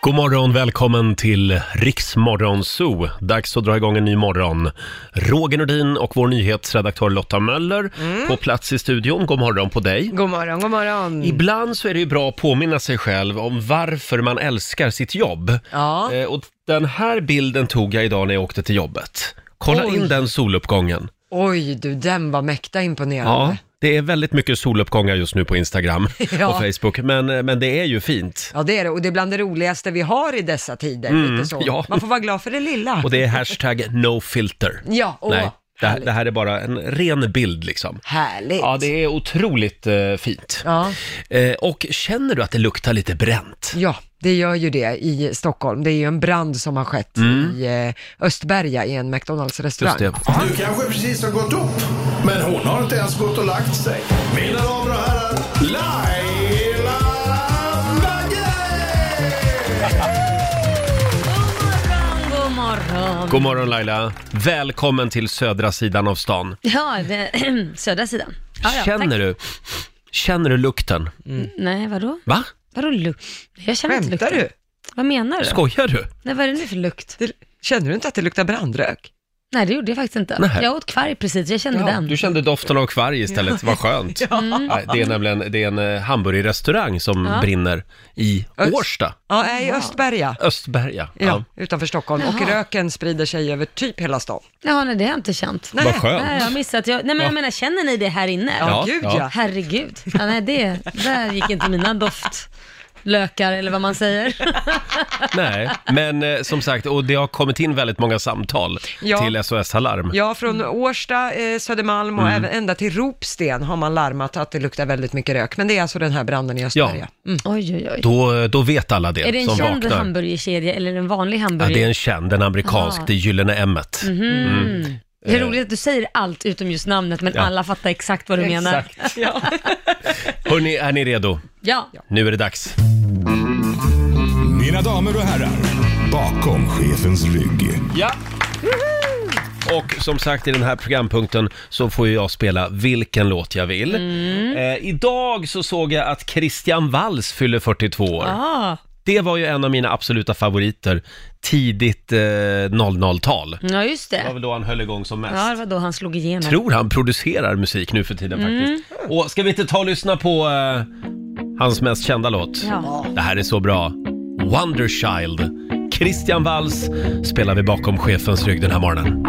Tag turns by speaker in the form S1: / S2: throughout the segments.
S1: God morgon, välkommen till Riksmorgon Zoo. Dags att dra igång en ny morgon. Roger Nordin och vår nyhetsredaktör Lotta Möller
S2: Mm.
S1: på plats i studion. God morgon på dig.
S2: God morgon, god morgon.
S1: Ibland så är det ju bra att påminna sig själv om varför man älskar sitt jobb.
S2: Ja.
S1: Eh, och den här bilden tog jag idag när jag åkte till jobbet. Kolla
S2: Oj.
S1: in den soluppgången.
S2: Oj, du, den var mäkta
S1: Ja,
S2: imponerande.
S1: det är väldigt mycket soluppgångar just nu på Instagram
S2: Ja.
S1: och Facebook, men, eh, men det är ju fint.
S2: Ja, det är det. Och det är bland det roligaste vi har i dessa tider. lite så.
S1: Mm, ja.
S2: Man får vara glad för det lilla.
S1: Och det är hashtag no filter.
S2: Ja, åh,
S1: Nej, det, här-
S2: härligt.
S1: det här är bara en ren bild liksom.
S2: Härligt.
S1: Ja, det är otroligt eh, fint.
S2: Ja.
S1: Eh, och känner du att det luktar lite bränt?
S2: Ja, det gör ju det i Stockholm. Det är ju en brand som har skett i eh, Östberga i en McDonalds-restaurang.
S1: Mm. Just det.
S3: Du kanske precis har gått upp, men hon har inte ens gått och lagt sig. Mina damer och herrar, Laila Bagge!
S4: God morgon.
S1: God morgon Laila! Välkommen till södra sidan av stan.
S4: Ja, det, södra sidan. Ja, ja,
S1: känner
S4: tack.
S1: du? Känner du lukten?
S4: Nej, vadå?
S1: Va?
S4: Vadå lukt? Jag känner inte
S2: Skämtar
S4: lukten.
S2: du?
S4: Vad menar du?
S1: Skojar du?
S4: Nej, vad är det nu för lukt?
S2: det? Känner du inte att det luktar brandrök?
S4: Nej, det gjorde jag faktiskt inte.
S1: Nej.
S4: Jag åt kvarg precis, jag kände den.
S1: du kände doften av kvarg istället, vad skönt. Nej, det är nämligen det är en eh, hamburgerrestaurang som
S4: Ja.
S1: brinner i
S2: Öst-
S1: Årsta,
S2: Ja, nej, i Östberga.
S1: Östberga.
S2: Ja, utanför Stockholm. Och
S4: Jaha.
S2: röken sprider sig över typ hela stan.
S4: Jaha, nej, det har jag inte känt.
S1: Vad skönt.
S4: Nej, jag har missat. Jag, nej, men jag menar, känner ni det här inne?
S2: Ja,
S1: Ja,
S2: gud
S1: ja.
S2: ja.
S4: Herregud. Ja, nej, det, där gick inte mina doftlökar, eller vad man säger.
S1: Nej, men eh, som sagt, och det har kommit in väldigt många samtal
S2: Ja.
S1: till SOS Alarm.
S2: Ja, från Årsta, eh, Södermalm och även ända till Ropsten har man larmat att det luktar väldigt mycket rök. Men det är alltså den här branden i Östberga. Mm.
S4: Oj, oj, oj.
S1: Då, då vet alla det
S4: Är det en
S1: som
S4: känd
S1: vaknar.
S4: hamburgerkedja eller en vanlig
S1: Ja,
S4: hamburgare?
S1: det är en känd, en amerikansk,
S4: Aha. Mhm.
S1: det är Gyllene Emmet.
S4: Det är roligt att du säger allt utom just namnet, men
S1: Ja.
S4: alla fattar exakt vad du menar.
S1: Hörni, är ni redo?
S4: Ja.
S1: Nu är det dags.
S3: Mina damer och herrar, bakom chefens rygg.
S1: Ja! Och som sagt i den här programpunkten så får ju jag spela vilken låt jag vill.
S4: Mm.
S1: Eh, idag så såg jag att Christian Walls fyller 42 år.
S4: Ah,
S1: Det var ju en av mina absoluta favoriter tidigt eh, 00-tal.
S4: ja, just
S1: Det var
S4: det.
S1: väl då han höll igång som mest.
S4: Ja, det var då han slog igenom.
S1: tror han producerar musik nu för tiden faktiskt. Och ska vi inte ta och lyssna på eh, hans mest kända låt?
S4: Ja.
S1: Det här är så bra. Wonderchild. Christian Walls spelar vi bakom chefens rygg den här morgonen.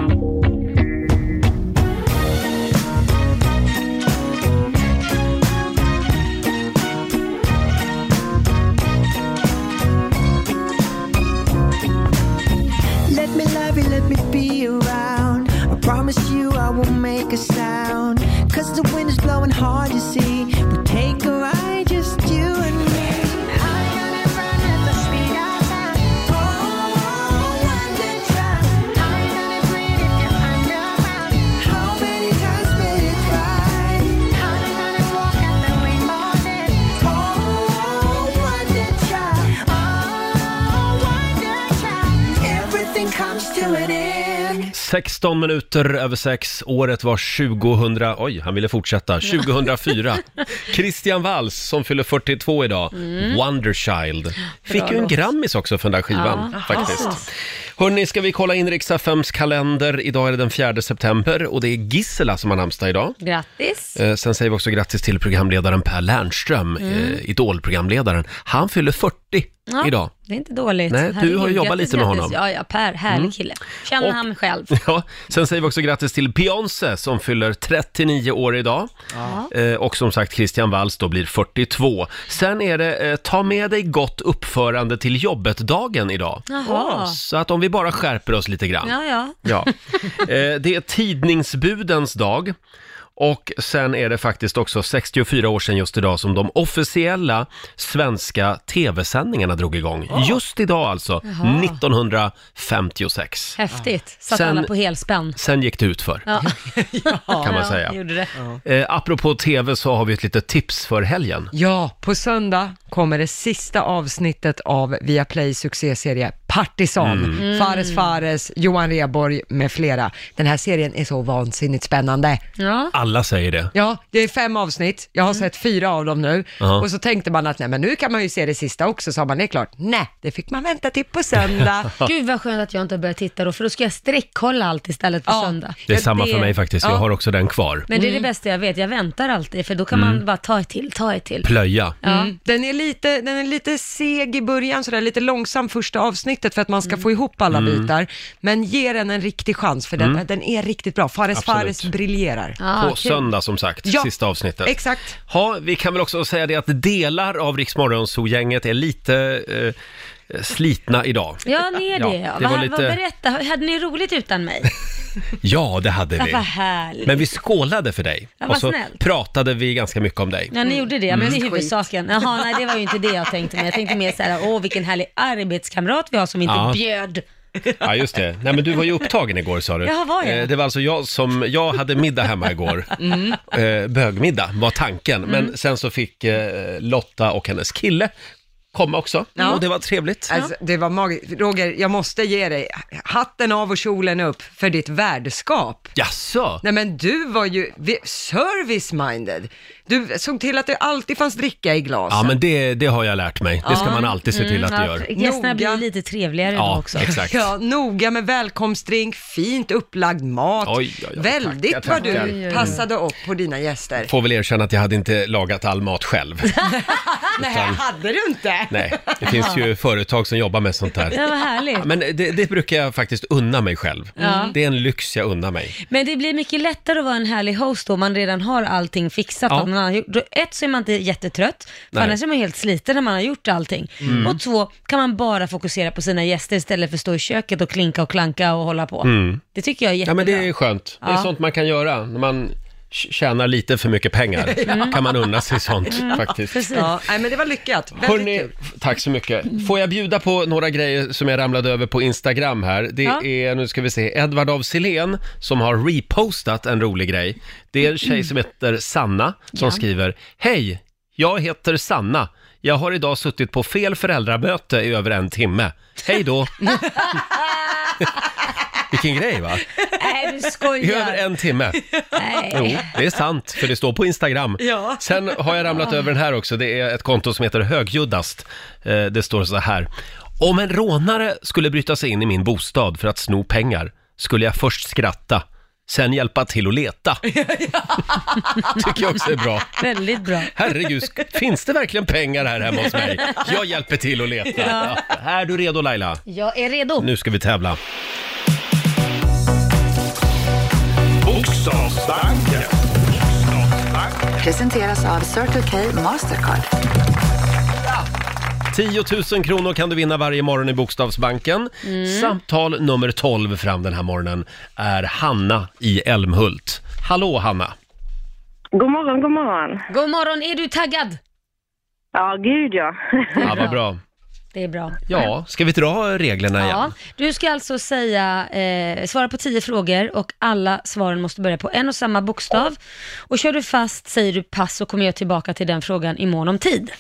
S5: Let me love you, let me be around. I promise you I won't make a sound. Cause the wind is blowing hard, you see. We take a ride, just you and me. I'm gonna run at the speed of sound. Oh, wonder truck. I'm gonna bring it down underground. How many times will you cry? I'm gonna walk out the rainbow then. Oh, wonder truck. Oh, wonder truck. Everything comes to an end.
S1: 16 minuter över 6, året var 2000, oj, han ville fortsätta, 2004. Christian Walls som fyller 42 idag, Wonderchild. Fick ju en
S4: Mm. låt.
S1: Grammis också för den där skivan
S4: Ja,
S1: faktiskt.
S4: precis.
S1: Hörni, ska vi kolla in Riksaffems kalender. Idag är det den 4 september och det är Gissela som har namnsdag idag.
S4: Grattis.
S1: Eh, Sen säger vi också grattis till programledaren Per Lernström, eh, Idol-programledaren. Han fyller 40
S4: Mm. Ja,
S1: idag.
S4: Det är inte dåligt.
S1: Nej, du har ju
S4: Herregud,
S1: jobbat
S4: grattis,
S1: lite med
S4: grattis.
S1: honom. Mm.
S4: Ja, ja, Per, härlig kille. Känner
S1: Och-
S4: han själv.
S1: Ja, sen säger vi också grattis till Beyoncé som fyller 39 år idag. Eh, och som sagt, Christian Walls då blir 42. Sen är det eh, ta med dig gott uppförande till jobbet-dagen idag.
S4: Jaha.
S1: Så att om vi bara skärper oss lite grann.
S4: Ja, ja.
S1: Ja. Eh, det är tidningsbudens dag. Och sen är det faktiskt också 64 år sedan just idag som de officiella svenska tv-sändningarna drog igång. Just idag alltså, 1956.
S4: Häftigt. Satt
S1: Sen-
S4: alla på helspänn.
S1: Sen gick det ut för.
S4: Ja.
S1: Kan man
S4: Ja,
S1: säga.
S4: Gjorde det.
S1: Eh, apropå tv så har vi ett litet tips för helgen.
S2: Ja, på söndag kommer det sista avsnittet av Viaplay succéserie Partisan. Fares Fares, Johan Rheborg med flera. Den här serien är så vansinnigt spännande.
S4: Ja.
S1: alla säger det.
S2: Ja, det är fem avsnitt. Jag har sett fyra av dem nu.
S1: Ja.
S2: Och så tänkte man att nej, men nu kan man ju se det sista också, sa man. Det är klart. Nej, det fick man vänta till på söndag.
S4: Gud vad skönt att jag inte har börjat titta då, för då ska jag streckkolla allt istället på
S2: Ja.
S4: söndag.
S1: Det är
S4: Ja,
S1: samma för mig faktiskt, jag
S4: ja.
S1: har också den kvar.
S4: Men det är det bästa jag vet, jag väntar alltid, för då kan
S1: Mm.
S4: man bara ta ett till, ta ett till.
S1: Plöja.
S2: Mm. Den, är lite, den är lite seg i början, sådär, lite långsam första avsnittet för att man ska
S1: Mm.
S2: få ihop alla bitar. Men ge den en riktig chans, för den, den är riktigt bra. Fares
S1: Mm. Absolut.
S2: Fares briljerar.
S4: Ah,
S1: På
S4: kul.
S1: söndag som sagt,
S2: Ja.
S1: sista avsnittet.
S2: Exakt.
S1: Ja, vi kan väl också säga det att delar av Riksmorgonzoo-gänget är lite eh, slitna idag.
S4: Ja, ni är det.
S1: Ja,
S4: Ja,
S1: det var
S4: vad, vad,
S1: lite-
S4: berätta, hade ni roligt utan mig?
S1: Ja, det hade
S4: Ja,
S1: vi.
S4: vad härligt.
S1: Men vi skålade för dig.
S4: Ja, vad
S1: och så
S4: snällt.
S1: pratade vi ganska mycket om dig.
S4: Ja, ni gjorde det,
S1: Mm.
S4: men det är huvudsaken. Jaha, nej det var ju inte det jag tänkte med. Jag tänkte mer så här, åh vilken härlig arbetskamrat vi har som inte
S1: Ja.
S4: bjöd.
S1: Ja, just det. Nej, men du var ju upptagen igår sa du.
S4: Jaha, var jag? Mm.
S1: Eh, Det var alltså jag som, jag hade middag hemma igår. Eh, bögmiddag var tanken. Men sen så fick eh, Lotta och hennes kille komma också. Och det var trevligt.
S2: Alltså, det var magiskt. Roger, jag måste ge dig hatten av och kjolen upp för ditt värdskap.
S1: Jaså?
S2: Nej men du var ju vi- service-minded. Du såg till att det alltid fanns dricka i glasen.
S1: Ja, men det, det har jag lärt mig. Det ska man alltid se till att det
S4: Mm, ja,
S1: gör.
S4: Gästerna
S2: Noga.
S4: blir lite trevligare då
S1: Ja,
S4: också.
S1: exakt.
S2: Ja, noga med välkomstdrink, fint upplagd mat.
S1: Oj, oj, oj,
S2: Väldigt
S1: tackar,
S2: vad
S1: tackar.
S2: du passade upp på dina gäster.
S1: Får väl erkänna att jag hade inte lagat all mat själv.
S2: Nej, hade du inte.
S1: Nej, det finns ju företag som jobbar med sånt här.
S4: Ja, vad härligt.
S1: Men det, det brukar jag faktiskt unna mig själv.
S4: Ja.
S1: Det är en lyx jag unnar mig.
S4: Men det blir mycket lättare att vara en härlig host då om man redan har allting fixat.
S1: Ja.
S4: av någon annan. gjort. Då- Ett så är man inte jättetrött, för
S1: Nej. Mm.
S4: annars är man helt sliten när man har gjort allting. Och två, kan man bara fokusera på sina gäster istället för att stå i köket och klinka och klanka och hålla på. Det tycker jag är
S1: Mm. Ja,
S4: jättebra.
S1: men det är skönt. Det är
S4: Ja.
S1: sånt man kan göra när man tj- tjänar lite för mycket pengar. kan man unna sig sånt faktiskt.
S4: Precis.
S2: Ja, nej, men det var lyckat. Väldigt
S1: Hörrni,
S2: kul.
S1: tack så mycket. Får jag bjuda på några grejer som jag ramlade över på Instagram här. Det
S4: Ja.
S1: är, nu ska vi se, Edvard av Silén som har repostat en rolig grej. Det är en tjej som heter Sanna som skriver, Hej, jag heter Sanna. Jag har idag suttit på fel föräldramöte i över en timme. Hej då! Vilken grej va?
S4: Nej, du
S1: I
S4: skojar.
S1: över en timme.
S4: Nej.
S1: Jo, det är sant, för det står på Instagram.
S2: Ja.
S1: Sen har jag ramlat över den här också. Det är ett konto som heter Högljuddast. Eh, Det står så här. Om en rånare skulle bryta sig in i min bostad för att sno pengar skulle jag först skratta, sen hjälpa till att leta. Tycker jag också är bra.
S4: Väldigt bra.
S1: Herregud, sk- finns det verkligen pengar här hemma hos mig? Jag hjälper till att leta. Ja. Är du redo Laila?
S4: Jag är redo.
S1: Nu ska vi tävla.
S3: Bokstavsbanken.
S6: Presenteras av Circle K Mastercard.
S1: 10 000 kronor kan du vinna varje morgon i Bokstavsbanken.
S4: Mm.
S1: Samtal nummer 12 fram den här morgonen är Hanna i Älmhult. Hallå Hanna!
S7: God morgon, god morgon.
S4: God morgon, är du taggad?
S7: Ja, gud ja.
S1: Ja, vad bra.
S4: Det är bra.
S1: Ja, ska vi dra reglerna
S4: Ja,
S1: igen?
S4: du ska alltså säga, eh, svara på tio frågor och alla svaren måste börja på en och samma bokstav. Och kör du fast säger du pass så kommer jag tillbaka till den frågan i mån om tid.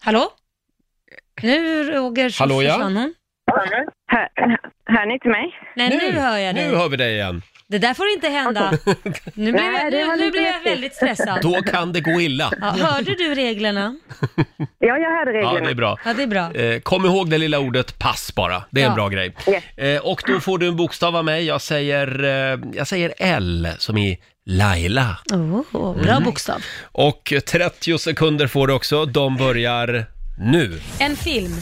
S4: Hallå? Nu Roger så
S1: Hallå, ja.
S4: försvann hon.
S7: Hör, hör ni inte mig?
S4: Nej, nu, hör jag dig.
S1: Nu hör vi dig igen.
S4: Det där får inte hända. Nu blev
S7: Nej,
S4: jag,
S7: det
S4: nu,
S7: var
S4: nu
S7: lite
S4: blev jag
S7: häftigt.
S4: väldigt stressad.
S1: Då kan det gå illa.
S4: Ja, hörde du reglerna?
S7: Ja, jag hörde
S1: Ja,
S7: reglerna.
S1: det är bra.
S4: Ja, det är bra.
S1: Eh, Kom ihåg det lilla ordet pass bara. Det är en
S4: Ja.
S1: bra grej.
S7: Yes.
S1: Eh, Och då får du en bokstav av mig. Jag säger, eh, jag säger L som i Laila.
S4: Oh, bra bokstav.
S1: Och 30 sekunder får du också. De börjar nu.
S4: En film.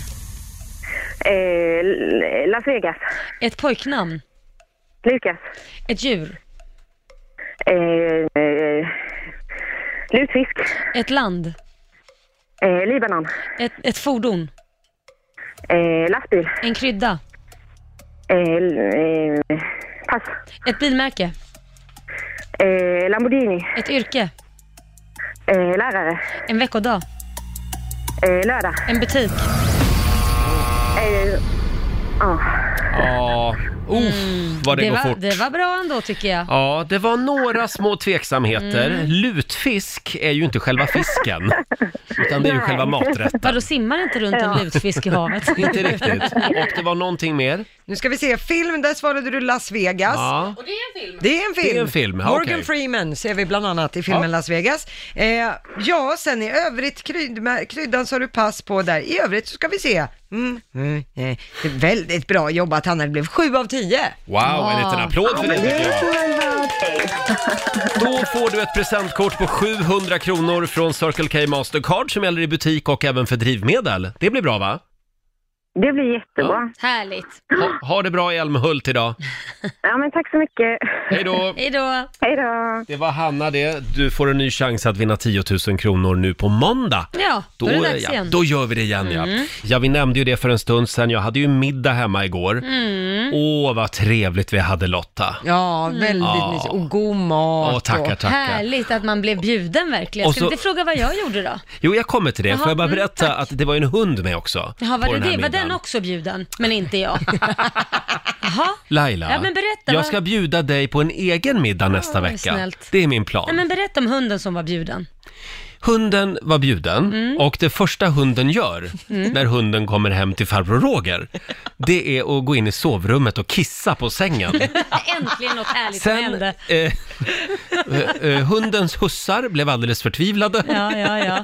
S7: Eh, L- Las Vegas.
S4: Ett pojknamn.
S7: Lukas.
S4: Ett djur.
S7: Eh, eh, lutfisk.
S4: Ett land.
S7: Eh, Libanon.
S4: Ett, ett fordon.
S7: Eh, lastbil.
S4: En krydda.
S7: Eh, l- eh, pass.
S4: Ett bilmärke.
S7: Eh, Lamborghini.
S4: Ett yrke.
S7: Eh, lärare.
S4: En veckodag.
S7: Eh, lördag.
S4: En butik.
S7: Eh, ah.
S1: Ja, Uff, vad det,
S4: Mm.
S1: går
S4: det, var,
S1: fort.
S4: det var bra ändå tycker jag.
S1: Ja, det var några små tveksamheter.
S4: Mm.
S1: Lutfisk är ju inte själva fisken, utan det är ju
S7: Nej.
S1: själva maträtten.
S4: Vadå, simmar inte runt en lutfisk i havet?
S1: Inte riktigt. Och det var någonting mer.
S2: Nu ska vi se, film, där svarade du Las Vegas.
S1: Ja.
S2: Det är en film.
S1: Det är en film, ja,
S2: Morgan
S1: okej.
S2: Freeman ser vi bland annat i filmen
S1: Ja.
S2: Las Vegas. Eh, ja, sen i övrigt, kryd, med, kryddan så har du pass på där. I övrigt så ska vi se. Mm, mm, eh, det är väldigt bra jobbat Hanna, det blev sju av tio.
S1: Wow, en liten applåd för det tycker jag. Då får du ett presentkort på 700 kronor från Circle K Mastercard som gäller i butik och även för drivmedel. Det blir bra va?
S7: Det blir jättebra.
S4: Härligt.
S1: Ha, ha det bra i Älmhult idag.
S7: Ja, men tack så mycket.
S1: Hej då!
S4: Hej då.
S7: Hej då.
S1: Det var Hanna det. Du får en ny chans att vinna 10 000 kronor nu på måndag.
S4: Ja, då, är det dags
S1: ja,
S4: igen. Mm.
S1: då gör vi det igen ja. Ja, vi nämnde ju det för en stund sedan. Jag hade ju middag hemma igår.
S4: Mm.
S1: Åh, vad trevligt vi hade Lotta.
S2: Ja, väldigt
S1: Mm. Ja.
S2: mysigt. Och god mat.
S1: Åh, tackar,
S2: och-
S1: tackar.
S4: Härligt att man blev bjuden verkligen.
S1: Och
S4: Ska
S1: så-
S4: du inte fråga vad jag gjorde då?
S1: Jo, jag kommer till det. Får
S4: Jaha,
S1: jag bara
S4: mm,
S1: berätta att det var ju en hund med också.
S4: Jaha, var,
S1: på
S4: det,
S1: här
S4: det, var
S1: middagen.
S4: den också bjuden? Men inte jag. Jaha.
S1: Laila,
S4: Ja, men berätta,
S1: jag
S4: vad-
S1: ska bjuda dig på en egen middag nästa
S4: vad
S1: vecka.
S4: snällt.
S1: Det är min plan.
S4: Nej, men berätta om hunden som var bjuden.
S1: Hunden var bjuden
S4: Mm.
S1: och det första hunden gör när hunden kommer hem till farbror Roger, det är att gå in i sovrummet och kissa på sängen.
S4: Äntligen något ärligt som
S1: Sen,
S4: hände.
S1: eh, eh, eh, hundens hussar blev alldeles förtvivlade.
S4: Ja, ja, ja.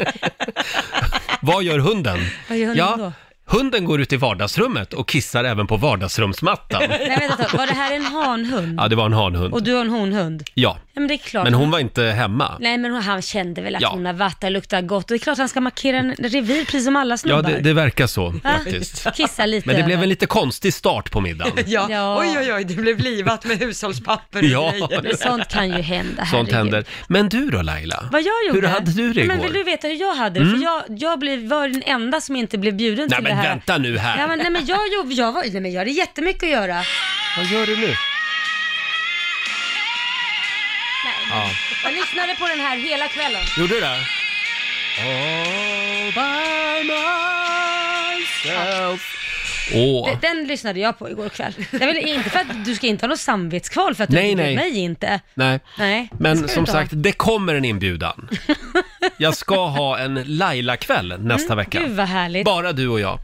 S1: Vad gör hunden?
S4: Vad gör hunden då?
S1: Hunden går ut i vardagsrummet och kissar även på vardagsrumsmattan.
S4: Nej, vänta, ett tag. var det här en hanhund?
S1: Ja, det var en hanhund.
S4: Och du har en honhund?
S1: Ja,
S4: Ja, men det är klart.
S1: men hon var inte hemma.
S4: Nej, men hon- han kände väl att
S1: Ja.
S4: hon har varit där, luktar gott. Och det är klart han ska markera en revir, precis som alla
S1: Ja,
S4: snubbar.
S1: det, det verkar så
S4: Va?
S1: faktiskt.
S4: Kissa lite
S1: Men det blev
S4: över.
S1: en lite konstig start på middagen.
S2: Ja.
S4: Ja.
S2: oj oj oj, det blev livat med hushållspapper och
S1: Ja.
S2: grejer.
S4: Men sånt kan ju hända,
S1: Sånt
S4: herregud.
S1: händer. Men du då Laila?
S4: Vad jag gjorde?
S1: Hur hade du det
S4: Nej,
S1: igår? Mm.
S4: Men vill du veta hur jag hade det? För jag, jag blev, var den enda som inte blev bjuden
S1: Nej
S4: till
S1: men
S4: det här.
S1: vänta nu här.
S4: Ja, men, nej, men jag, jag, jag, var, nej, men jag hade jättemycket att göra.
S1: Vad gör du nu?
S4: Nej, men-
S1: Ja.
S4: Jag lyssnade på den här hela kvällen.
S1: Gjorde du det? All by myself. Åh.
S4: Den, den lyssnade jag på igår kväll. Jag vill, inte för att du ska inte ha något samvetskval för att du
S1: Nej,
S4: inte
S1: nej.
S4: mig inte.
S1: Nej.
S4: Nej, det ska
S1: Men
S4: du
S1: som
S4: inte ha.
S1: sagt, det kommer en inbjudan. Jag ska ha en Laila-kväll nästa vecka.
S4: Mm, Gud vad härligt. Mm,
S1: Bara du och jag.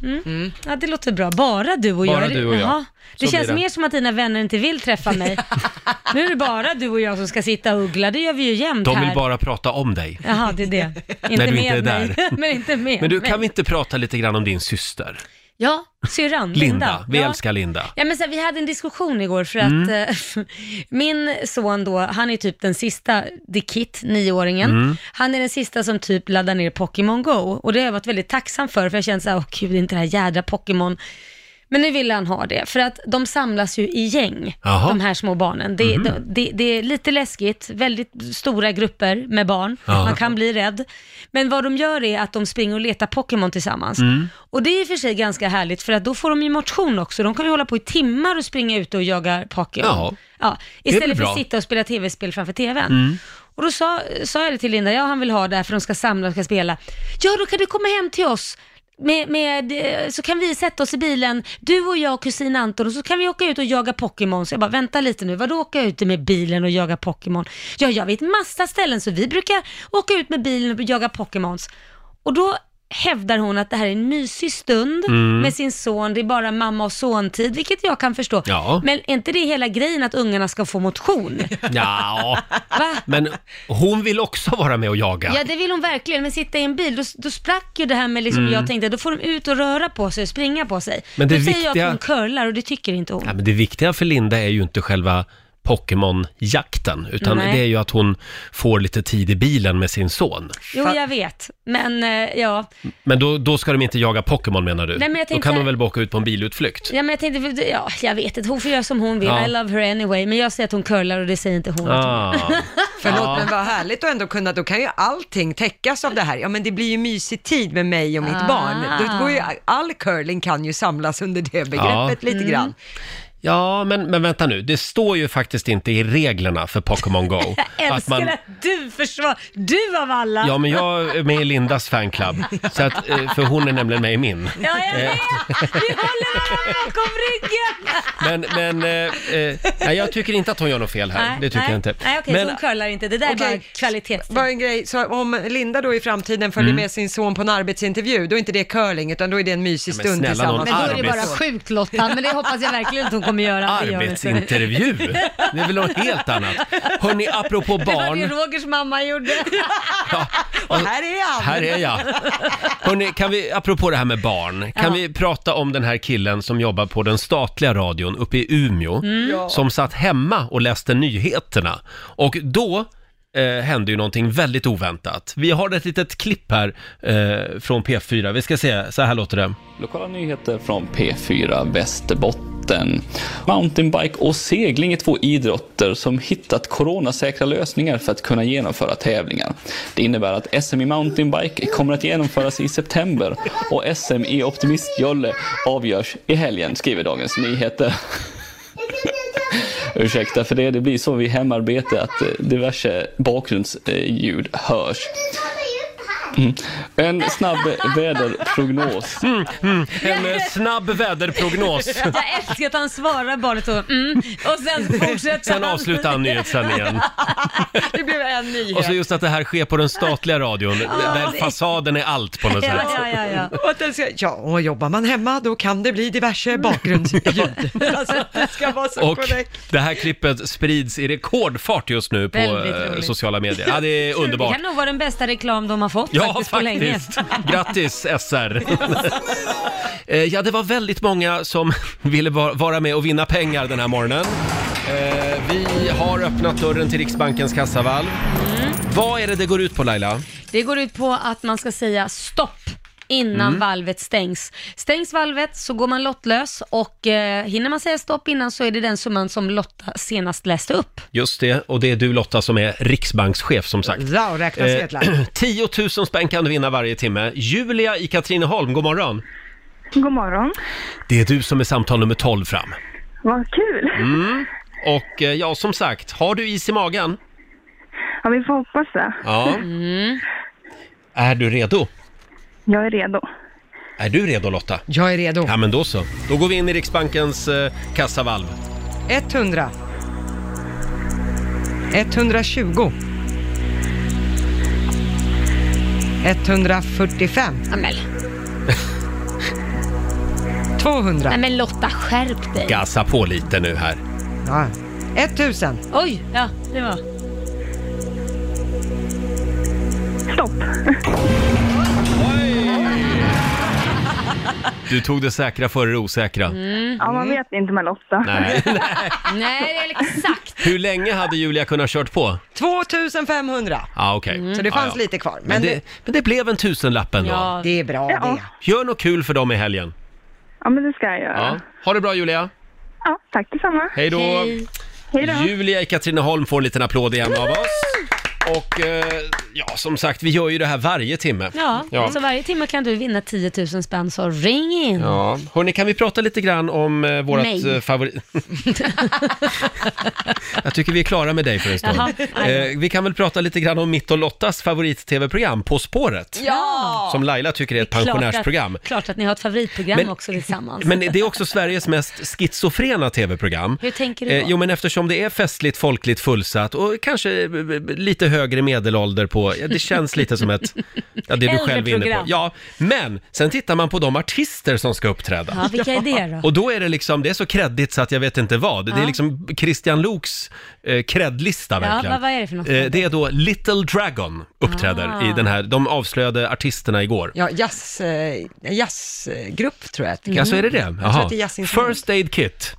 S4: Ja, det låter bra. Bara du och
S1: Bara
S4: jag.
S1: du och jag.
S4: Jaha. Det
S1: Så
S4: känns
S1: blir det.
S4: mer som att dina vänner inte vill träffa mig. nu är det bara du och jag som ska sitta och uggla. Det gör vi ju jämt
S1: De vill
S4: här.
S1: bara prata om dig.
S4: Jaha, det är det. Inte
S1: När du
S4: med
S1: inte är
S4: mig.
S1: där.
S4: Men inte med
S1: Men du, kan
S4: mig.
S1: vi inte prata lite grann om din syster?
S4: Ja, syrran. Linda.
S1: Linda. Vi
S4: ja.
S1: älskar Linda. Mm.
S4: Ja, men så här, vi hade en diskussion igår för att eh, min son då, han är typ den sista, The Kit, nioåringen,
S1: Mm.
S4: han är den sista som typ laddar ner Pokémon Go och det har jag varit väldigt tacksam för för jag känner så här, åh gud, inte det här jädra Pokémon. Men nu vill han ha det, för att de samlas ju i gäng,
S1: Jaha.
S4: de här små barnen. Det,
S1: Mhm.
S4: det, det, det är lite läskigt, väldigt stora grupper med barn,
S1: Ja.
S4: man kan bli rädd. Men vad de gör är att de springer och letar Pokémon tillsammans.
S1: Mm.
S4: Och det är i och för sig ganska härligt, för att då får de ju motion också. De kan ju hålla på i timmar och springa ut och jaga Pokémon.
S1: Ja.
S4: Ja,
S1: är väl
S4: istället för
S1: bra. Mm.
S4: att sitta och spela tv-spel framför tvn. Och då sa, sa jag det till Linda, ja han vill ha det här för de ska samla och ska spela. Ja, då kan du komma hem till oss. Med, med, eh, så kan vi sätta oss i bilen, du och jag och kusin Anton, och så kan vi åka ut och jaga Pokémon. Så jag bara, vänta lite nu, vadå åka ut med bilen och jaga Pokémon? Ja, jag vet massa ställen, så vi brukar åka ut med bilen och jaga Pokémons. Och då hävdar hon att det här är en mysig stund
S1: Mm.
S4: med sin son, det är bara mamma och son-tid, vilket jag kan förstå.
S1: Ja.
S4: Men är inte det hela grejen att ungarna ska få motion?
S1: Ja,
S4: Va?
S1: men hon vill också vara med och jaga.
S4: Ja, det vill hon verkligen, men sitta i en bil, då, då sprack ju det här med liksom, jag tänkte, då får de ut och röra på sig och springa på sig.
S1: Mm. Men det
S4: då säger jag
S1: viktiga-
S4: att hon curlar och det tycker inte hon.
S1: Ja, men det viktiga för Linda är ju inte själva Pokémon-jakten, utan
S4: Nej.
S1: det är ju att hon får lite tid i bilen med sin son.
S4: Jo, jag vet, men eh, ja.
S1: Men då, då ska de inte jaga Pokémon menar du?
S4: Nej, men jag
S1: då
S4: tänkte-
S1: kan de väl bara åka ut på en bilutflykt?
S4: ja, men jag tänkte, ja, jag vet inte, hon får göra som hon vill,
S1: Ja.
S4: I love her anyway, men jag säger att hon curlar och det säger inte hon. att hon-
S1: Ah.
S2: Förlåt, men vad härligt att ändå kunna, då kan ju allting täckas av det här. Ja, men det blir ju mysig tid med mig och mitt
S4: Ah.
S2: barn. Då går ju, all curling kan ju samlas under det begreppet lite grann.
S1: Ja, men, men vänta nu. Det står ju faktiskt inte i reglerna för Pokémon Go.
S4: Jag älskar att, du försvarar, du av alla!
S1: Ja, men jag är med i Lindas fanclub. Så att, eh, för hon är nämligen med i min.
S4: Ja, jag vet!
S1: Eh.
S4: Vi håller varandra bakom ryggen!
S1: Men, men eh, eh, nej, jag tycker inte att hon gör något fel här. det tycker
S4: nej.
S1: jag inte.
S4: Nej, okej,
S1: men,
S4: så hon curlar inte. Det där är
S2: Okej.
S4: bara kvalitetstid.
S2: Bara en grej, så om Linda då i framtiden följer med sin son på en arbetsintervju, då är inte det curling, utan då är det en mysig
S1: men
S2: stund
S1: snälla nån,
S2: tillsammans.
S8: Men då är det bara
S1: Arbets-
S8: sjukt Lotta, men det hoppas jag verkligen inte hon kommer göra. Det gör hon inte.
S1: arbetsintervju? Det är väl något helt annat? Hörni, apropå
S4: Det var det
S1: barn.
S4: Rogers mamma gjorde.
S1: Ja, och-
S2: Här är han!
S1: Här är jag. Hörrni, kan vi, apropå det här med barn, kan vi prata om den här killen som jobbar på den statliga radion uppe i Umeå, som satt hemma och läste nyheterna. Och då eh, hände ju någonting väldigt oväntat. Vi har ett litet klipp här eh, från P4. Vi ska se, så här låter det.
S9: Lokala nyheter från P4 Västerbotten. Mountainbike och segling är två idrotter som hittat coronasäkra lösningar för att kunna genomföra tävlingar. Det innebär att SM i mountainbike kommer att genomföras i september och SM i optimistjolle avgörs i helgen, skriver Dagens Nyheter. Ursäkta för det, det blir så vid hemarbete att eh, diverse bakgrundsljud eh, hörs. Mm. En snabb väderprognos
S1: En eh, snabb väderprognos.
S4: Jag älskar att han svarar barnet och mm, och sen fortsätter
S1: Sen
S4: han.
S1: avslutar han nyhetssändningen.
S2: Det blev en nyhet.
S1: Och så just att det här sker på den statliga radion, där fasaden är allt på något
S4: Ja,
S1: sätt.
S4: ja, ja, ja.
S2: Och att den ska, ja, och jobbar man hemma då kan det bli diverse bakgrundsljud. alltså, det ska vara så
S1: Och
S2: korrekt.
S1: det här klippet sprids i rekordfart just nu på
S4: Väldigt
S1: eh,
S4: roligt.
S1: sociala medier. Ja, det är
S4: Det
S1: underbart.
S4: kan nog vara den bästa reklam de har fått
S1: Ja,
S4: faktiskt
S1: faktiskt.
S4: på länge.
S1: Grattis SR! Eh, ja, det var väldigt många som ville va- vara med och vinna pengar den här morgonen. Eh, Vi har öppnat dörren till Riksbankens kassavalv.
S4: Mm.
S1: Vad är det det går ut på Laila?
S4: Det går ut på att man ska säga stopp innan
S1: Mm.
S4: valvet stängs. Stängs valvet så går man lottlös och eh, hinner man säga stopp innan så är det den summan som Lotta senast läste upp.
S1: Just det, och det är du Lotta som är riksbankschef som sagt.
S2: Ja, och räkna sedlar.
S1: Eh, 10 000 spänn kan du vinna varje timme. Julia i Katrineholm, god morgon!
S7: God morgon.
S1: Det är du som är samtal nummer 12 fram.
S7: Vad kul.
S1: Och eh, ja, som sagt, har du is i magen?
S7: Ja, vi får hoppas det.
S1: Ja. Mm. Är du redo?
S7: Jag är redo.
S1: Är du redo Lotta?
S2: Jag är redo.
S1: Ja, men då så. Då går vi in i Riksbankens eh, kassavalv.
S2: 100. 120. 145.
S4: Amel.
S2: 200.
S4: Nej men Lotta, skärp dig.
S1: Gassa på lite nu här.
S2: Ja. 1000.
S4: Oj, ja det var.
S7: Stopp.
S1: Du tog det säkra före det osäkra.
S7: Ja, man vet inte med Lotta.
S1: Nej.
S4: Nej, det är exakt.
S1: Hur länge hade Julia kunnat kört på?
S2: 2500.
S1: Ja, okej.
S2: Så det
S1: Ja,
S2: fanns
S1: Mm. ja.
S2: lite kvar. Men,
S1: Men
S2: det,
S1: det, men det blev en tusenlapp ändå.
S4: Ja.
S2: det är bra
S7: Ja.
S2: det.
S1: Gör något kul för dem i helgen.
S7: Ja, men det ska jag göra.
S1: Ja.
S7: Ja,
S1: Ha det bra Julia.
S7: tack detsamma.
S1: Hej då.
S4: Hej.
S7: Hej då.
S1: Julia i Katrineholm får en liten applåd igen av oss. Och eh, ja, som sagt, vi gör ju det här varje timme.
S4: Ja,
S1: Ja.
S4: så varje timme kan du vinna 10 000 spänn, så ring in.
S1: Ja, hörni, kan vi prata lite grann om eh, vårt
S4: Nej.
S1: eh, favorit... Jag tycker vi är klara med dig för en stund.
S4: Jaha.
S1: Eh, vi kan väl prata lite grann om mitt och Lottas favorit-tv-program, På spåret,
S4: Ja!
S1: som Laila tycker är ett pensionärsprogram.
S4: Klart att, klart att ni har ett favoritprogram
S1: Men-
S4: också tillsammans.
S1: Men det är också Sveriges mest schizofrena tv-program.
S4: Hur tänker du då?
S1: Eh, jo, men eftersom det är festligt, folkligt, fullsatt och kanske eh, lite högre medelålder på, ja, det känns lite som ett, ja det är du själv är inne på.
S4: Äldreprogram.
S1: Ja, men sen tittar man på de artister som ska uppträda.
S4: Ja, vilka är det då?
S1: Och då är det liksom, det är så kreddigt så att jag vet inte vad. Det är
S4: Ja.
S1: liksom Christian Loks eh, kreddlista verkligen.
S4: vad- vad är det för något?
S1: Eh, det är då Little Dragon uppträder
S4: Ah.
S1: i den här, de avslöjade artisterna igår.
S2: Ja, jazz, eh, jazzgrupp tror jag
S4: Mm.
S2: att
S1: Alltså är det det?
S2: tror
S1: Jaha.
S2: att det är jazzinstrument.
S1: First Aid Kit,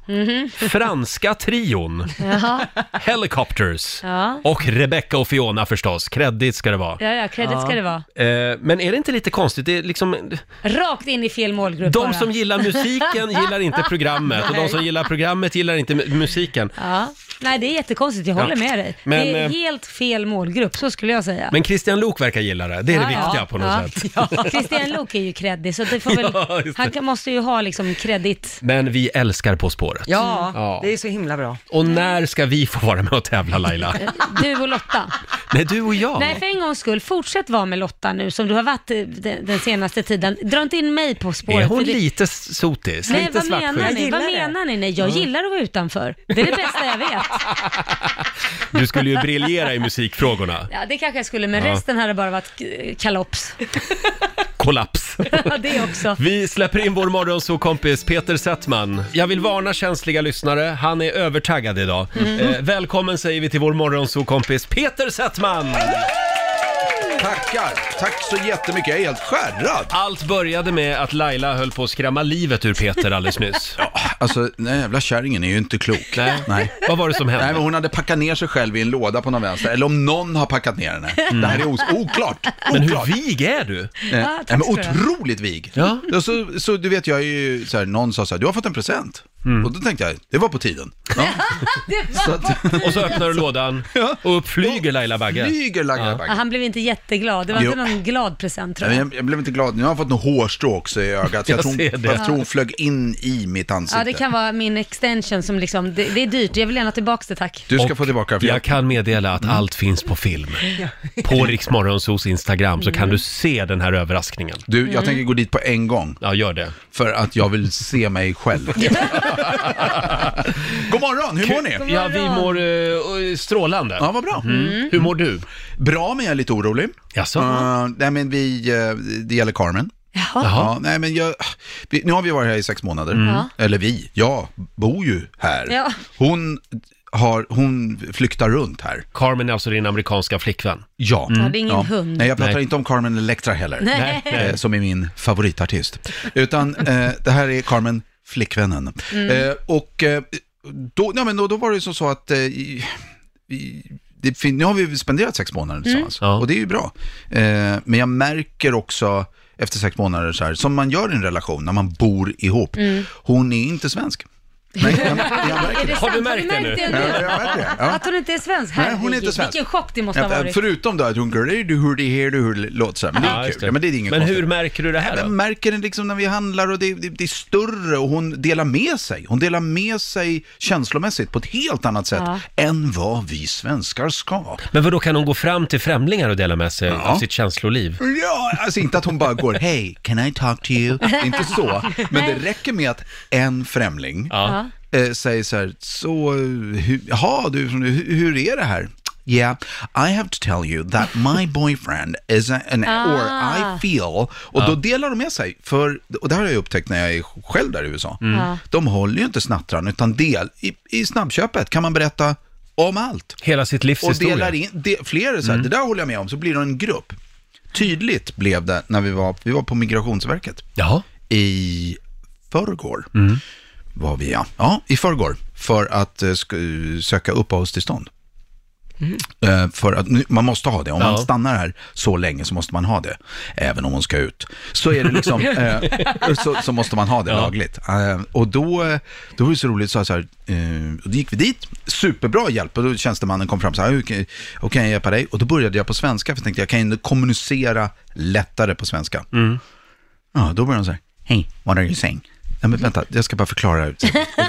S1: Franska Trion,
S4: Mhm. Jaha.
S1: Helicopters
S4: Ja.
S1: och Rebecca och Fiona förstås. Kredit ska det vara.
S4: Ja, ja, credit ska det vara.
S1: Eh, men är det inte lite konstigt? Det är liksom,
S4: Rakt in i fel målgrupp bara.
S1: de som gillar musiken gillar inte programmet och de som gillar programmet gillar inte mu- musiken.
S4: Ja. Nej, det är jättekonstigt. Jag håller
S1: Ja.
S4: med dig.
S1: Men,
S4: det är
S1: eh,
S4: helt fel målgrupp, så skulle jag säga.
S1: Men Christian Lok verkar gilla det. Det är det
S4: Ja,
S1: viktiga
S4: ja.
S1: på något
S4: Ja.
S1: sätt.
S4: Ja. Christian Lok är ju kreddig, så det får väl,
S1: Ja, just det.
S4: han kan, måste ju ha liksom kredit.
S1: Men vi älskar På spåret.
S2: Ja,
S1: Ja.
S2: det är så himla bra.
S1: Och när ska vi få vara med och tävla Laila?
S4: Eh, Du och Lotta.
S1: Nej, du och jag.
S4: Nej, för en gångs skull, fortsätt vara med Lotta nu som du har varit eh, den, den senaste tiden. Dra inte in mig på spåret.
S1: Är hon
S4: för det-
S1: lite s- sotis?
S4: Nej,
S1: lite
S4: vad menar
S1: svartsjuk?
S4: ni? Vad
S2: Jag gillar det.
S4: menar ni? Nej, jag gillar att vara utanför. Det är det bästa jag vet.
S1: Du skulle ju briljera i musikfrågorna.
S4: Ja, det kanske jag skulle, men
S1: Ja.
S4: resten hade bara varit eh, kalops.
S1: Kollaps.
S4: Ja, det också.
S1: Vi släpper in vår morgonsåkompis Peter Settman. Jag vill varna känsliga lyssnare, han är övertaggad idag. Eh, välkommen säger vi till vår morgonsåkompis Peter Settman!
S3: Tackar! Tack så jättemycket, jag är helt skärrad.
S1: Allt började med att Laila höll på att skrämma livet ur Peter alldeles nyss.
S10: Alltså, den här jävla kärringen är ju inte klok.
S1: Nej.
S10: Nej.
S1: Vad var det som
S10: Nej, men
S1: hände?
S10: hon hade packat ner sig själv i en låda på någon vänster, eller om någon har packat ner henne. Det här är os- oklart.
S1: Men
S10: oklart.
S1: hur vig är du?
S10: Eh,
S4: Mm. Ja, tack
S10: Nej, men
S4: ska du ha.
S10: otroligt vig.
S1: Ja.
S10: Och Så, så du vet, jag är ju så här, någon sa så här, du har fått en present.
S1: Mm.
S10: Och då tänkte jag, det var på tiden. Ja. så att,
S1: Och så öppnar du lådan och upp flyger Laila Bagge.
S10: flyger Laila
S4: Ja,
S10: Bagge.
S4: han blev inte jätteglad. Det var
S10: Jo.
S4: inte någon glad present tror
S10: Nej,
S4: jag.
S10: Jag, jag blev inte glad, nu har jag fått något hårstrå också i ögat.
S1: Jag
S10: Jag, tror,
S1: ser det.
S10: jag tror hon flög in i mitt ansikte.
S4: Ja, det kan vara min extension som liksom, det, det är dyrt. Jag vill gärna tillbaka det tack.
S10: Du ska
S1: Och
S10: få tillbaka för jag,
S1: Jag kan meddela
S10: Mm.
S1: att allt finns på film. På Rix Morgonzos Instagram så
S10: Mm.
S1: kan du se den här överraskningen.
S10: Du,
S4: Mm.
S10: jag tänker gå dit på en gång.
S1: Ja, gör det.
S10: För att jag vill se mig själv. God morgon, hur mår ni?
S1: Ja, vi mår eh, strålande. Mm.
S10: Ja, Mm. vad bra.
S1: Hur mår du?
S10: Bra, men jag är lite orolig.
S1: Jaså?
S10: Eh, nej, men vi, eh, det gäller Carmen.
S4: Jaha.
S10: Ja, nej, men jag, vi, nu har vi varit här i sex månader. Eller vi, jag bor ju här.
S4: Ja.
S10: Hon, har, hon flyktar runt här.
S1: Carmen är alltså din amerikanska flickvän.
S10: Ja.
S4: det är ingen hund.
S10: Nej, jag pratar
S1: Nej.
S10: inte om Carmen Electra heller.
S4: Nej.
S10: eh, som är min favoritartist. Utan eh, det här är Carmen, flickvännen. Eh, och eh, då, ja, men då, då var det ju som så att eh, i- i- det fin- nu har vi spenderat sex månader tillsammans
S1: Ja.
S10: och det är ju bra. Eh, men jag märker också efter sex månader så här, som man gör i en relation när man bor ihop, hon är inte svensk. Nej, jag, jag märker
S4: Är det
S10: det.
S1: Har
S4: sant?
S1: du märkt det nu?
S10: Ja, jag märker det. Ja.
S4: Att hon inte är svensk?
S10: Nej, hon är
S4: Herregud,
S10: inte svensk.
S4: Vilken chock det måste ha varit.
S10: Förutom då att hon gör du hur det här, du hur det låter så här. Men det är kul.
S1: just
S10: Ja, men det är inget
S1: men
S10: konstigt.
S1: hur märker du det här
S10: Jag
S1: då?
S10: märker den liksom när vi handlar och det, det, det är större och hon delar med sig. Hon delar med sig känslomässigt på ett helt annat sätt
S4: Ja.
S10: än vad vi svenskar ska.
S1: Men vadå, kan hon gå fram till främlingar och dela med sig av sitt känsloliv?
S10: Ja, alltså inte att hon bara går, hej, can I talk to you? Inte så, men det räcker med att en främling
S1: Ja.
S10: eh, säger så här, så, eh, hu- jaha, du, hur, hur är det här? Yeah, I have to tell you that my boyfriend is a- an, or I feel, och då delar de med sig, för, och det här har jag upptäckt när jag är själv där i USA, de håller ju inte snattran, utan del, i, i snabbköpet kan man berätta om allt.
S1: Hela sitt livs
S10: Och
S1: historia.
S10: delar in, de, fler så här, det där håller jag med om, så blir det en grupp. Tydligt blev det när vi var, vi var på Migrationsverket
S1: Jaha.
S10: i förrgår. Var vi, ja. ja, i förrgår. För att eh, sk- söka uppehållstillstånd. Eh, för att nu- man måste ha det. Om
S1: Ja.
S10: man stannar här så länge så måste man ha det. Även om hon ska ut. Så är det liksom, eh, så, så måste man ha det lagligt. Eh, och då, eh, då var det så roligt, så, här, så här, eh, och då gick vi dit, superbra hjälp. Och då tjänstemannen kom fram så här, hur kan, hur kan jag hjälpa dig? Och då började jag på svenska, för jag tänkte jag kan ju kommunicera lättare på svenska. Ja, då börjar hon så här, hey, what are you saying? Ja, men vänta, jag ska bara förklara. Och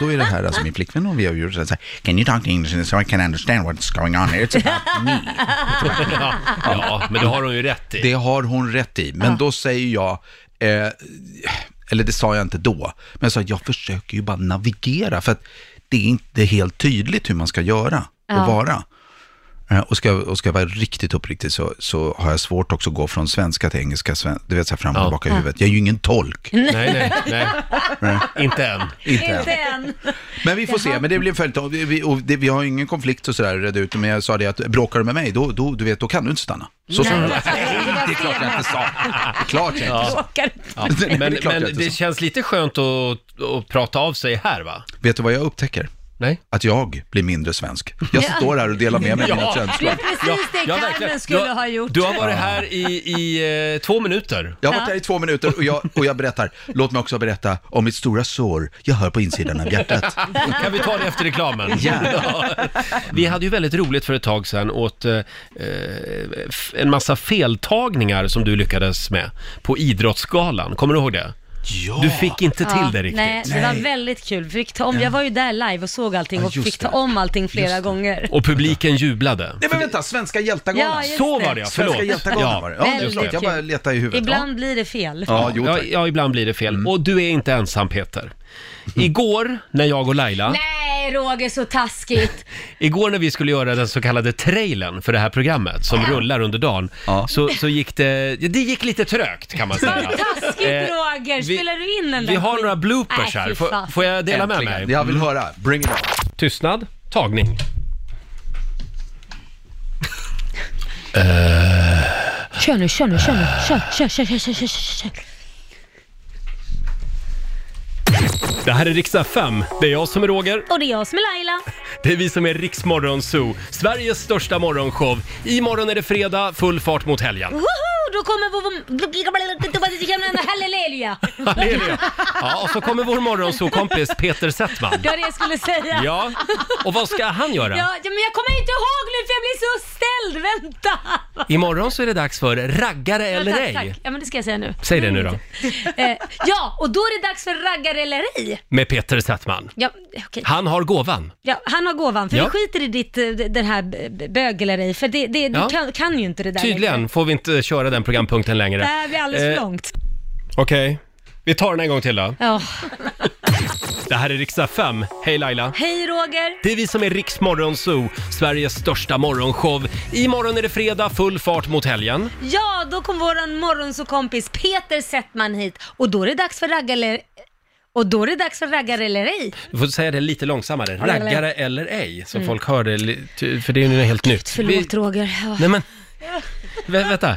S10: då är det här alltså min flickvän och vi har gjort så här, så här, can you talk in English so I can understand what's going on here? It's about me.
S1: Ja. ja, men det har hon ju rätt i.
S10: Det har hon rätt i, men då säger jag, eh, eller det sa jag inte då, men jag sa jag försöker ju bara navigera för att det är inte helt tydligt hur man ska göra och vara. Eh, Och ska, och ska jag vara riktigt uppriktig så, så har jag svårt också att gå från svenska till engelska, sven, du vet så här fram och
S1: Ja.
S10: tillbaka i huvudet. Jag är ju ingen tolk.
S1: Nej, nej, nej. Inte än.
S4: Inte än.
S10: Men vi får se, men det blir en följetong. Vi, vi, och det, vi har ingen konflikt och sådär redd ut, men jag sa det att bråkar du med mig, då, då, du vet, då kan du inte stanna. Så sa jag.
S4: Nej,
S10: Det är klart jag inte sa. Det är klart jag inte sa.
S4: Råkar inte.
S10: Nej, det är
S1: Men,
S10: klart jag
S1: men
S10: inte
S1: det
S10: sa.
S1: känns lite skönt att, att prata av sig här va?
S10: Vet du vad jag upptäcker? att jag blir mindre svensk. Jag
S4: Ja.
S10: står här och delar med mig av mina
S1: Ja.
S10: känslor.
S4: Det är precis det
S1: Ja, verkligen.
S4: Carmen skulle
S1: Du har-
S4: ha gjort.
S1: Du har varit här i, i eh, två minuter.
S10: Jag har varit här i två minuter och jag, och jag berättar. Låt mig också berätta om mitt stora sår jag hör på insidan av hjärtat.
S1: Kan vi ta det efter reklamen?
S10: Ja.
S1: Vi hade ju väldigt roligt för ett tag sedan åt eh, eh, f- en massa feltagningar som du lyckades med på Idrottsgalan. Kommer du ihåg det? Ja. Du fick inte till
S4: Ja,
S1: det riktigt.
S4: Nej, det var väldigt kul. Vi Fick ta om, jag var ju där live och såg allting
S1: Ja,
S4: och
S1: just
S4: fick ta
S1: det.
S4: om allting flera gånger.
S1: Och publiken jublade.
S10: Nej men vänta, Svenska hjältagalan.
S4: Ja, just
S1: Så var det, ja. Förlåt.
S10: Svenska hjältagalan
S1: Ja.
S10: var det. Ja, just det.
S4: Väldigt
S10: Jag bara letar i huvudet.
S4: Ibland blir det fel.
S10: Ja, jo,
S1: ja,
S10: tack. Mm.
S1: ja, ibland blir det fel. Och du är inte ensam, Peter. Igår, när jag och Laila...
S4: Nej Roger, så taskigt.
S1: Igår när vi skulle göra den så kallade trailern för det här programmet som rullar under dagen så, så gick det, ja, det gick lite trögt kan man säga.
S4: Vad taskigt
S1: Eh,
S4: Roger,
S1: vi-
S4: spelar du in den
S1: Vi
S4: där
S1: har
S4: skit-
S1: några
S4: Nej,
S1: bloopers
S4: fy
S1: här, får,
S4: fan.
S1: får jag dela med
S10: Äntligen.
S1: mig?
S10: Jag vill höra. Bring it on.
S1: Tystnad, tagning.
S4: Kör nu, kör nu, kör nu. Kör, kör, kör, kör, kör, kör, kör.
S1: Det här är riksdag 5, det är jag som är Roger.
S4: Och det är jag som är Laila.
S1: Det är vi som är Riksmorgon Zoo, Sveriges största morgonshow. Imorgon är det fredag, full fart mot helgen.
S4: Woho! Då kommer vår... Halleluja!
S1: Halleluja! Ja, och så kommer vår morgonzoo-kompis Peter Settman.
S4: Det var det jag skulle säga.
S1: Ja, och vad ska han göra?
S4: Ja, ja, men jag kommer inte ihåg nu för jag blir så ställd. Vänta!
S1: Imorgon så är det dags för Raggare eller
S4: ja, tack,
S1: ej.
S4: Tack. Ja, men det ska jag säga nu.
S1: Säg det nu då,
S4: Eh, ja, och då är det dags för raggare eller ej.
S1: med Peter Settman.
S4: Ja, okej.
S1: Han har gåvan.
S4: Ja, han har gåvan, för
S1: Ja.
S4: vi skiter i ditt, eh, den här b- b- bög eller ej, för det, det,
S1: Ja.
S4: du kan, kan ju inte det där längre.
S1: Tydligen får vi inte köra den programpunkten längre.
S4: Det här blir alldeles för
S1: Eh,
S4: långt.
S1: Okej, vi tar den en gång till då.
S4: Ja.
S1: Det här är riksdag 5. Hej Laila!
S4: Hej Roger!
S1: Det är vi som är Riks Morgonzoo, Sveriges största morgonshow. Imorgon är det fredag, full fart mot helgen.
S4: Ja, då kom våran morgonsåkompis Peter Settman hit och då är det dags för raggare eller... Och då är det dags för raggare eller ej.
S1: Du får säga det lite långsammare. Raggare eller ej,
S4: Mm.
S1: så folk hör det, li- ty- för det är ju helt nytt. Vi-
S4: Förlåt Roger. Ja.
S1: Nej men, Vä- vänta.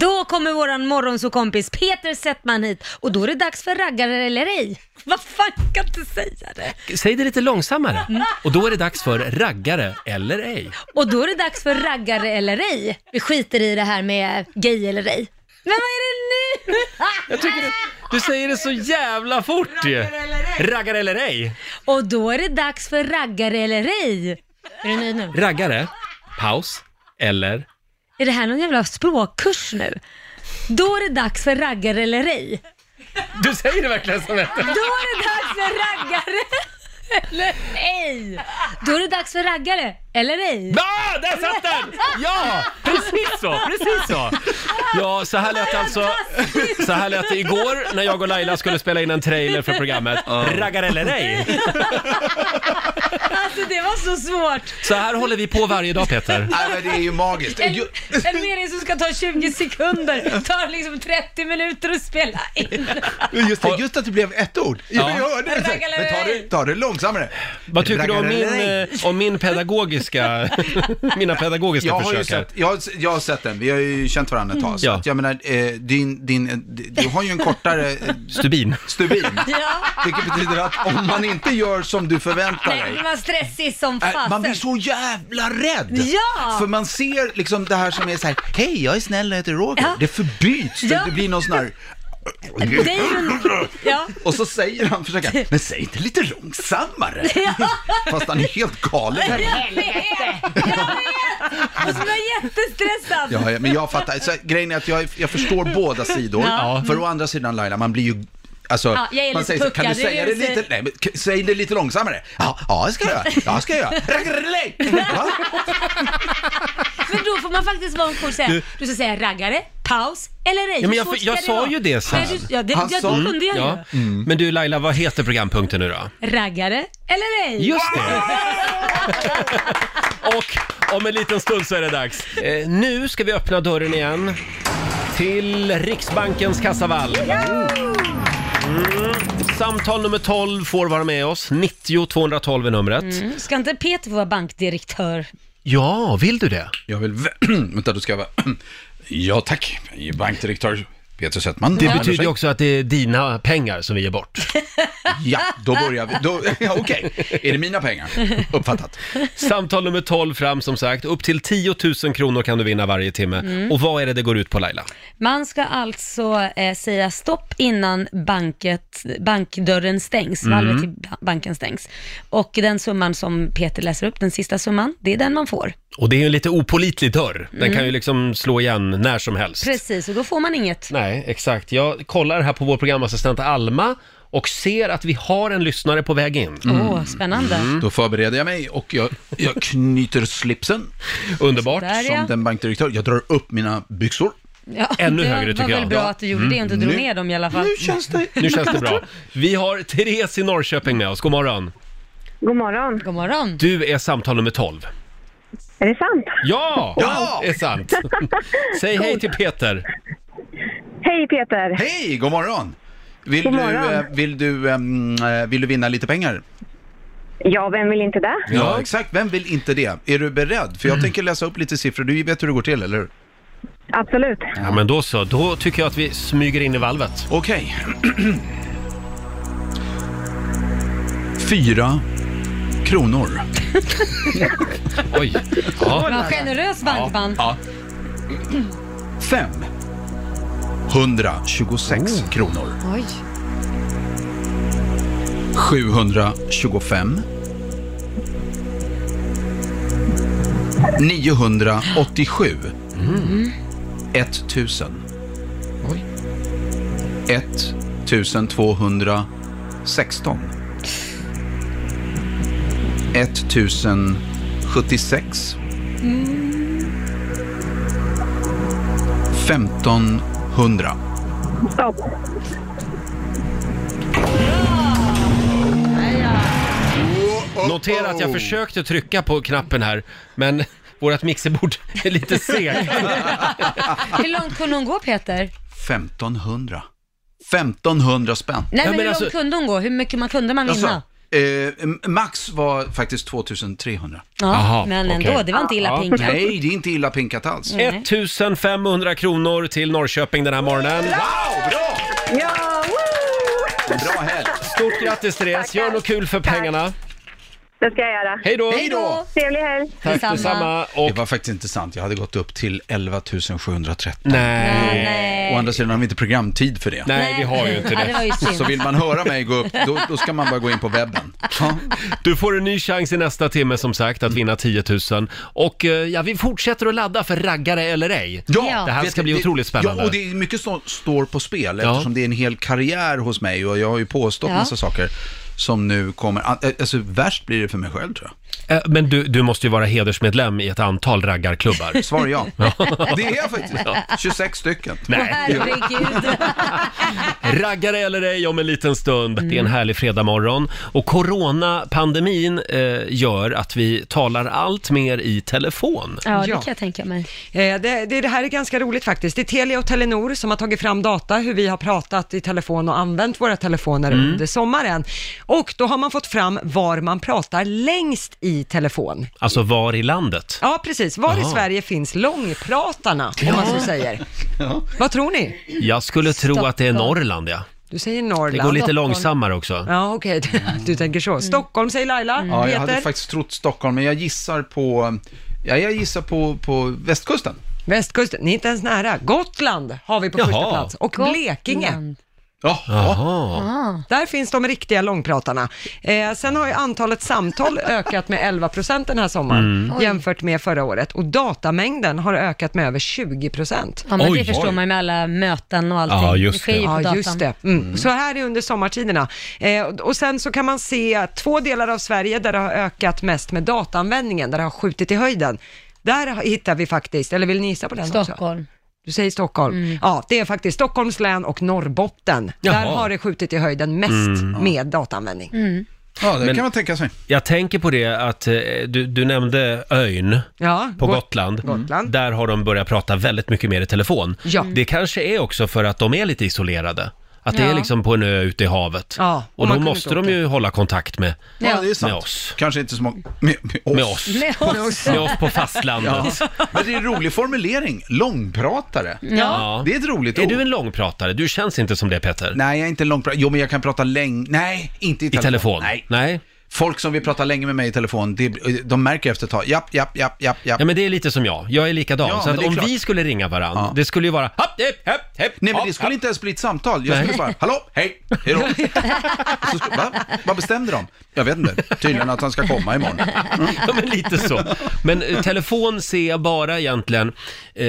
S4: Då kommer våran morgonsåkompis Peter Settman hit och då är det dags för raggare eller ej. Vad fan, jag kan inte säga det.
S1: Säg det lite långsammare. Och då är det dags för raggare eller ej.
S4: Och då är det dags för raggare eller ej. Vi skiter i det här med gay eller ej. Men vad är det nu?
S1: Jag tycker du, du säger det så jävla fort ju. Raggare eller ej.
S4: Och då är det dags för raggare eller ej. Är du nöjd nu?
S1: Raggare, paus, eller?
S4: Är det här någon jävla språkkurs nu? Då är det dags för raggare eller ej.
S1: Du säger det verkligen som ett...
S4: Då är det dags för raggare eller ej. Då är det dags för raggare eller ej.
S1: Ah, där satt den! Ja, precis så, precis så. Ja, så här lät alltså... Så här lät det igår när jag och Laila skulle spela in en trailer för programmet. Raggare eller ej.
S4: Alltså det var så svårt.
S1: Så här håller vi på varje dag Peter.
S10: Nej, men det är ju magiskt.
S4: En,
S10: Ju-
S4: en mening som ska ta 20 sekunder tar liksom 30 minuter att spela in.
S10: Just, det, just att det blev ett ord. Ja. Jag hörde det. Men ta det, ta det långsammare.
S1: Vad tycker du om
S10: Raggare
S1: min,
S10: eller ej?
S1: eh, om min pedagogiska, mina pedagogiska
S10: Jag har,
S1: försök
S10: ju
S1: här?
S10: sett, jag, har- jag har sett den, vi har ju känt varandra ett tag. Så
S1: Mm. Ja.
S10: att jag menar, eh, din, din, eh, du har ju en kortare eh,
S1: Stubin.
S10: stubin.
S4: Ja.
S10: Vilket betyder att om man inte gör som du förväntar
S4: Nej,
S10: dig,
S4: det var stressigt som
S10: Äh,
S4: fasen.
S10: Man blir så jävla rädd!
S4: Ja!
S10: För man ser liksom det här som är så här, hej jag är snäll och heter Roger.
S4: Ja.
S10: Det förbyts,
S4: Ja.
S10: det blir någon sån här...
S4: Det är ju- ja.
S10: Och så säger han, försöker han, men säg inte lite långsammare! Fast han är helt galen.
S4: Jag vet! Jag vet! Och så var jag jättestressad.
S10: Ja, ja, men jag fattar, så här, grejen är att jag, jag förstår båda sidor. För å andra sidan Laila, man blir ju Alltså,
S4: Ja, jag är
S10: man
S4: lite
S10: säger så,
S4: puckad,
S10: kan du
S4: det är
S10: säga det
S4: det du säger."
S10: lite, nej, men, k- säg det lite långsammare. Ja, ja, det ska jag göra. Ja, det ska jag göra. Raggarelej! Va?
S4: Men då får man faktiskt vara en cool och säga, du ska säga raggare, paus eller ej.
S1: Ja, men jag-
S4: Hur svårt ska
S1: jag sa
S4: vara?
S1: ju det sen. Alltså,
S4: Nej, du- Ja, det,
S10: Han
S4: ja,
S10: sa-
S4: det kunde jag
S1: Ja.
S4: ju.
S10: Mm.
S1: Men du Laila, vad heter programpunkten nu då?
S4: Raggare eller ej.
S1: Just det! Och om en liten stund så är det dags. Eh, nu ska vi öppna dörren igen till Riksbankens kassavalv. Mm. Samtal nummer 12 får vara med oss. 90 212 är numret.
S4: Mm, Ska inte Peter få vara bankdirektör?
S1: Ja, vill du det?
S10: Jag vill... vä- Vänta, då ska jag vara... ja, tack. Bankdirektör Peter Settman.
S1: Det betyder ju också att det är dina pengar som vi ger bort.
S10: Ja, då börjar vi. Då, ja, Okej, är det mina pengar? Uppfattat.
S1: Samtal nummer 12 fram som sagt. Upp till 10 000 kronor kan du vinna varje timme.
S4: Mm.
S1: Och vad är det det går ut på Laila?
S4: Man ska alltså eh, säga stopp innan banket, bankdörren stängs,
S1: Mm.
S4: valvet till ba- banken stängs. Och den summan som Peter läser upp, den sista summan, det är den man får.
S1: Och det är ju en lite opålitlig dörr. Den
S4: Mm.
S1: kan ju liksom slå igen när som helst.
S4: Precis, och då får man inget.
S1: Nej, exakt. Jag kollar här på vår programassistent Alma och ser att vi har en lyssnare på väg in.
S4: Åh, spännande.
S1: Mm.
S10: Då förbereder jag mig och jag, jag knyter slipsen.
S1: Underbart.
S4: Sådär, ja.
S10: Som den bankdirektör. Jag drar upp mina byxor.
S4: Ja, det var väl bra att du gjorde det och
S1: Mm.
S4: inte drog ner dem i alla fall.
S10: Nu känns det...
S1: Nu känns det bra. Vi har Therese i Norrköping med oss. God morgon.
S4: God morgon. God morgon.
S1: Du är samtal nummer 12.
S7: Är det sant?
S1: Ja!
S7: Ja!
S1: Det är sant. Säg hej till Peter.
S7: Hej Peter!
S10: Hej, god morgon! Vill
S7: God
S10: du,
S7: morgon.
S10: eh, vill, du, ehm, eh, vill du vinna lite pengar?
S7: Ja, vem vill inte det?
S10: Ja, Mm. exakt. Vem vill inte det? Är du beredd? För jag tänker läsa upp lite siffror. Du vet hur det går till, eller hur?
S7: Absolut.
S1: Ja, men då så. Då tycker jag att vi smyger in i valvet.
S10: Okej. Fyra kronor.
S1: Oj. Ja.
S4: Vad generös bankman.
S10: Ja. Fem. 126 kronor.
S4: Oj.
S10: 725. 987. 1000.
S1: Oj.
S10: 1216. 1076. 1500.
S7: Stopp.
S10: Oh.
S1: Notera att jag försökte trycka på knappen här, men vårt mixerbord är lite segt.
S4: Hur långt kunde hon gå Peter?
S10: 1500. 1500 spänn.
S4: Nej, men, hur långt kunde hon gå? Hur mycket man kunde man vinna?
S10: Alltså, eh, max var faktiskt 2300.
S4: Ja, Jaha, men ändå, okej. det var inte illa pinkat.
S10: Nej, det är inte illa pinkat alls.
S1: 1500 kronor till Norrköping den här morgonen.
S7: Ja!
S10: Bra helg!
S1: Stort grattis Therese, gör något kul för pengarna.
S7: Det ska jag göra.
S1: Hej då! Hej då!
S7: Trevlig helg!
S10: Det var faktiskt inte sant. Jag hade gått upp till 11 713.
S1: Nej.
S4: Nej.
S10: Å andra sidan har vi inte programtid för det.
S1: Nej, vi har ju inte
S4: Ja, det var ju
S10: Så,
S4: synd.
S10: så vill man höra mig gå upp, då, då ska man bara gå in på webben.
S1: Du får en ny chans i nästa timme som sagt att vinna 10 000. Och eh, ja, vi fortsätter att ladda för raggare eller ej. Det här
S10: vet
S1: ska
S10: du,
S1: bli
S10: det-
S1: otroligt spännande.
S10: Ja, och det är mycket som står på spel eftersom det är en hel karriär hos mig och jag har ju påstått
S1: Ja.
S10: massa saker som nu kommer. Alltså värst blir det för mig själv tror jag.
S1: Eh, Men du, du måste ju vara hedersmedlem i ett antal raggarklubbar.
S10: Svar ja. Det är jag faktiskt. 26 stycken.
S1: Nej. Raggare eller ej om en liten stund. Det är en härlig fredagmorgon. Och coronapandemin eh, gör att vi talar allt mer i telefon.
S4: Ja, det
S2: Ja.
S4: kan jag tänka mig.
S2: Eh, Det, det, det här är ganska roligt faktiskt. Det är Telia och Telenor som har tagit fram data hur vi har pratat i telefon och använt våra telefoner
S11: Mm.
S2: under sommaren. Och då har man fått fram var man pratar längst i telefon.
S1: Alltså var i landet?
S2: Ja, precis. Var i
S1: Jaha.
S2: Sverige finns långpratarna, om man så säger. Vad tror ni?
S1: Jag skulle tro att det är
S2: Stockholm.
S1: Norrland, ja.
S2: Du säger Norrland.
S1: Det går lite
S2: Stockholm.
S1: långsammare också.
S2: Ja, okej. Du tänker så. Stockholm säger Laila.
S10: Ja, jag hade
S2: Peter?
S10: faktiskt trott Stockholm, men jag gissar på, ja, jag gissar på, på västkusten.
S2: Västkusten, ni är inte ens nära. Gotland har vi på
S10: Jaha.
S2: första plats. Och
S10: Gotland.
S2: Blekinge.
S10: Jaha.
S2: Där finns de riktiga långpratarna. Eh, sen har ju antalet samtal ökat med 11 procent den här sommaren
S4: Mm. Oj.
S2: jämfört med förra året. Och datamängden har ökat med över 20 procent.
S4: Ja, men det förstår man ju med alla möten och allting. det sker ju på
S2: Ja,
S4: datan.
S2: just det. Mm. Så här är det under sommartiderna. Eh, och- och sen så kan man se att två delar av Sverige där det har ökat mest med dataanvändningen, där det har skjutit i höjden. Där har- hittar vi faktiskt, eller vill ni gissa på den
S4: Stockholm. Mm.
S2: också? Du säger Stockholm. Ja, det är faktiskt Stockholms län och Norrbotten.
S1: Jaha.
S2: Där har det skjutit i höjden mest
S1: Mm.
S2: med dataanvändning.
S4: Mm.
S10: Ja, det
S1: Men-
S10: kan man tänka sig.
S1: Jag tänker på det att eh, du, du nämnde ön
S2: Ja,
S1: på
S2: Go-
S1: Gotland.
S4: Mm.
S1: Där har de börjat prata väldigt mycket mer i telefon.
S2: Ja.
S1: Det kanske är också för att de är lite isolerade. Att det är
S4: Ja.
S1: liksom på en ö ute i havet.
S4: Ja, och
S1: och
S4: man
S1: då
S4: kunde
S1: måste
S4: inte
S1: de ju hålla kontakt med,
S4: Ja, det är
S10: sant.
S1: med oss.
S10: Kanske inte så många... Med,
S1: Med oss.
S4: Med oss.
S1: Med oss på fastlandet.
S10: Ja. Men det är en rolig formulering, långpratare.
S1: Ja. Ja.
S10: Det är ett roligt
S1: Är
S10: ord.
S1: du en långpratare? Du känns inte som det Peter.
S10: Nej, jag är inte en långpratare. Jo, men jag kan prata länge. Nej, inte i telefon.
S1: telefon?
S10: Nej.
S1: Nej.
S10: Folk som vill prata länge med mig i telefon, det, de märker efter ett tag. Japp, japp, japp, japp, japp.
S1: Ja men det är lite som jag, jag är likadan.
S10: Ja,
S1: så
S10: men
S1: att
S10: det är
S1: om
S10: klart.
S1: vi skulle ringa varandra, det skulle ju vara hopp, hepp, hepp, hepp,
S10: Nej, men
S1: hopp,
S10: det skulle
S1: hopp.
S10: inte ens bli ett samtal. Jag
S1: Nej.
S10: skulle bara, hallå, hej, hejdå. Och Så, skulle- va? Vad bestämde de? Jag vet inte. Tydligen att han ska komma imorgon.
S1: Ja, men lite så. Men eh, telefon ser jag bara egentligen eh,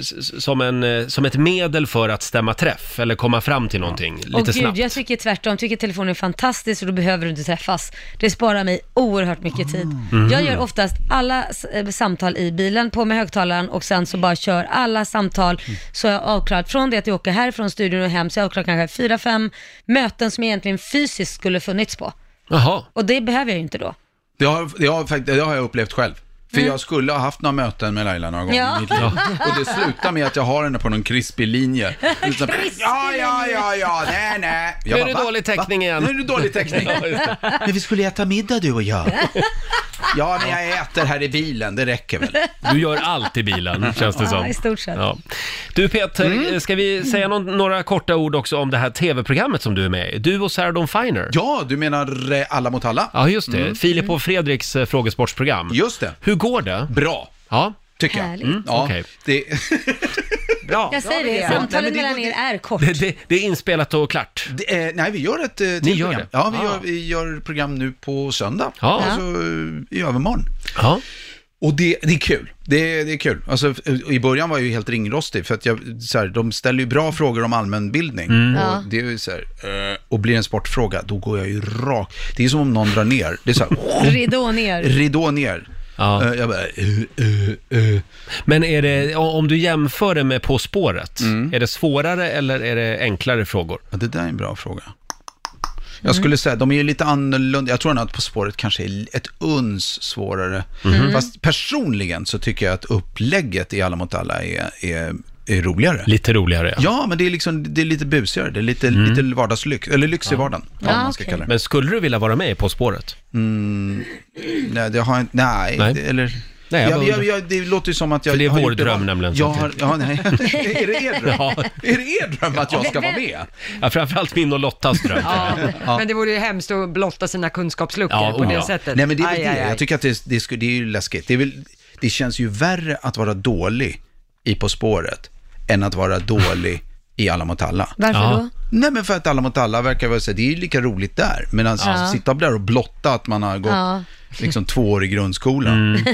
S1: s- s- som, en, eh, som ett medel för att stämma träff eller komma fram till någonting lite
S4: Och gud,
S1: snabbt.
S4: jag tycker tvärtom. tycker telefonen är fantastisk och då behöver du inte träffas. Det sparar mig oerhört mycket tid.
S1: Mhm.
S4: Jag gör oftast alla s- eh, samtal i bilen, på med högtalaren och sen så bara kör alla samtal
S1: Mm.
S4: så jag avklarat från det att jag åker härifrån studion och hem, så jag avklarar kanske fyra, fem möten som jag egentligen fysiskt skulle funnits på.
S1: Jaha.
S4: Och det behöver jag ju inte då.
S10: Det har, det, har, fakt- det har jag upplevt själv. För
S1: Mm.
S10: jag skulle ha haft några möten med Laila några gånger
S4: Ja.
S10: i mitt liv.
S4: Ja.
S10: Och det slutar med att jag har henne på någon krispig linje. Utan- Ja, ja, ja, ja, nej, nej. Jag
S1: nu är
S10: bara,
S1: det
S10: va?
S1: dålig täckning igen.
S10: Nu är det dålig täckning.
S1: Ja, just det.
S10: Men vi skulle äta middag du och jag. Ja, men jag äter här i bilen, det räcker väl.
S1: Du gör allt i bilen, känns det som.
S4: Ja, i stort sett.
S1: Ja. Du Peter, eh, ska vi säga någon, några korta ord också om det här tv-programmet som du är med i? Du och Sarah Dawn Finer.
S10: Ja, du menar eh, Alla mot alla?
S1: Ja, just det.
S10: Mm.
S1: Filip och Fredriks eh, frågesportsprogram.
S10: Just det.
S1: Hur går det?
S10: Bra,
S1: Ja.
S10: tycker jag.
S4: Härligt.
S1: Mm,
S10: Ja,
S1: okej.
S10: det,
S1: Bra.
S4: Jag säger det,
S10: Ja, nej,
S4: samtalen
S10: men det-
S4: mellan er är kort.
S1: Det, det, det är inspelat och klart.
S10: det, eh, nej, vi gör ett eh, till
S1: Ni gör
S10: program.
S1: det?
S10: Ja, vi,
S1: Ah.
S10: gör, vi gör program nu på söndag.
S1: Ja.
S10: Och så eh, i övermorgon.
S1: Ja.
S10: Och det, det är kul. Det, det är kul. Alltså, I början var jag ju helt ringrostig, för att jag, så här, de ställer ju bra frågor om allmänbildning.
S1: Mm.
S10: Och,
S4: Ja.
S10: det är ju så här, eh, och blir det en sportfråga, då går jag ju rakt... Det är som om någon drar ner. Det är så här,
S4: Ridå ner.
S10: ridå ner.
S1: Ja.
S10: Eh, Jag bara, eh, eh, eh.
S1: Men är det, om du jämför det med På spåret,
S10: Mm.
S1: är det svårare eller är det enklare frågor?
S10: Ja, det där är en bra fråga. Jag skulle säga, de är ju lite annorlunda. Jag tror nog att På spåret kanske är ett uns svårare. Fast personligen så tycker jag att upplägget i Alla mot alla är, är, är roligare.
S1: Lite Mm. roligare.
S10: Ja, men det är, liksom, det är lite busigare. Det är lite, lite vardagslyx, eller lyx i vardagen. vad
S4: Ja,
S10: man ska
S4: okej.
S10: kalla det.
S1: Men skulle du vilja vara med i På spåret?
S10: Nej, det har jag inte, nej,
S1: Nej.
S10: Det, eller...
S1: Nej, jag
S10: jag,
S1: bara-
S10: jag, jag, det låter ju som att jag
S1: För det är
S10: har
S1: vår
S10: gjort
S1: dröm
S10: van-
S1: nämligen,
S10: Jag
S1: så
S10: har, ja, nej. är det er dröm?
S1: Ja.
S10: Är det er dröm att jag ska vara med?
S1: Ja, framförallt min och Lottas dröm.
S2: Ja. Men det vore ju hemskt att blotta sina kunskapsluckor
S1: Ja,
S2: på det
S1: ja.
S2: sättet.
S10: oh Nej men det är väl
S2: Aj,
S10: det.
S2: aj, aj.
S10: Jag tycker att det, det, sku- det är ju läskigt. Det, är väl, det känns ju värre att vara dålig i På spåret än att vara dålig i Alla mot alla.
S4: Varför
S1: Ja.
S4: då?
S10: Nej men för att Alla mot alla verkar vara så här, det är ju lika roligt där. Men alltså, att
S4: Ja.
S10: sitta där och blotta att man har gått
S4: Ja.
S10: liksom två år i grundskolan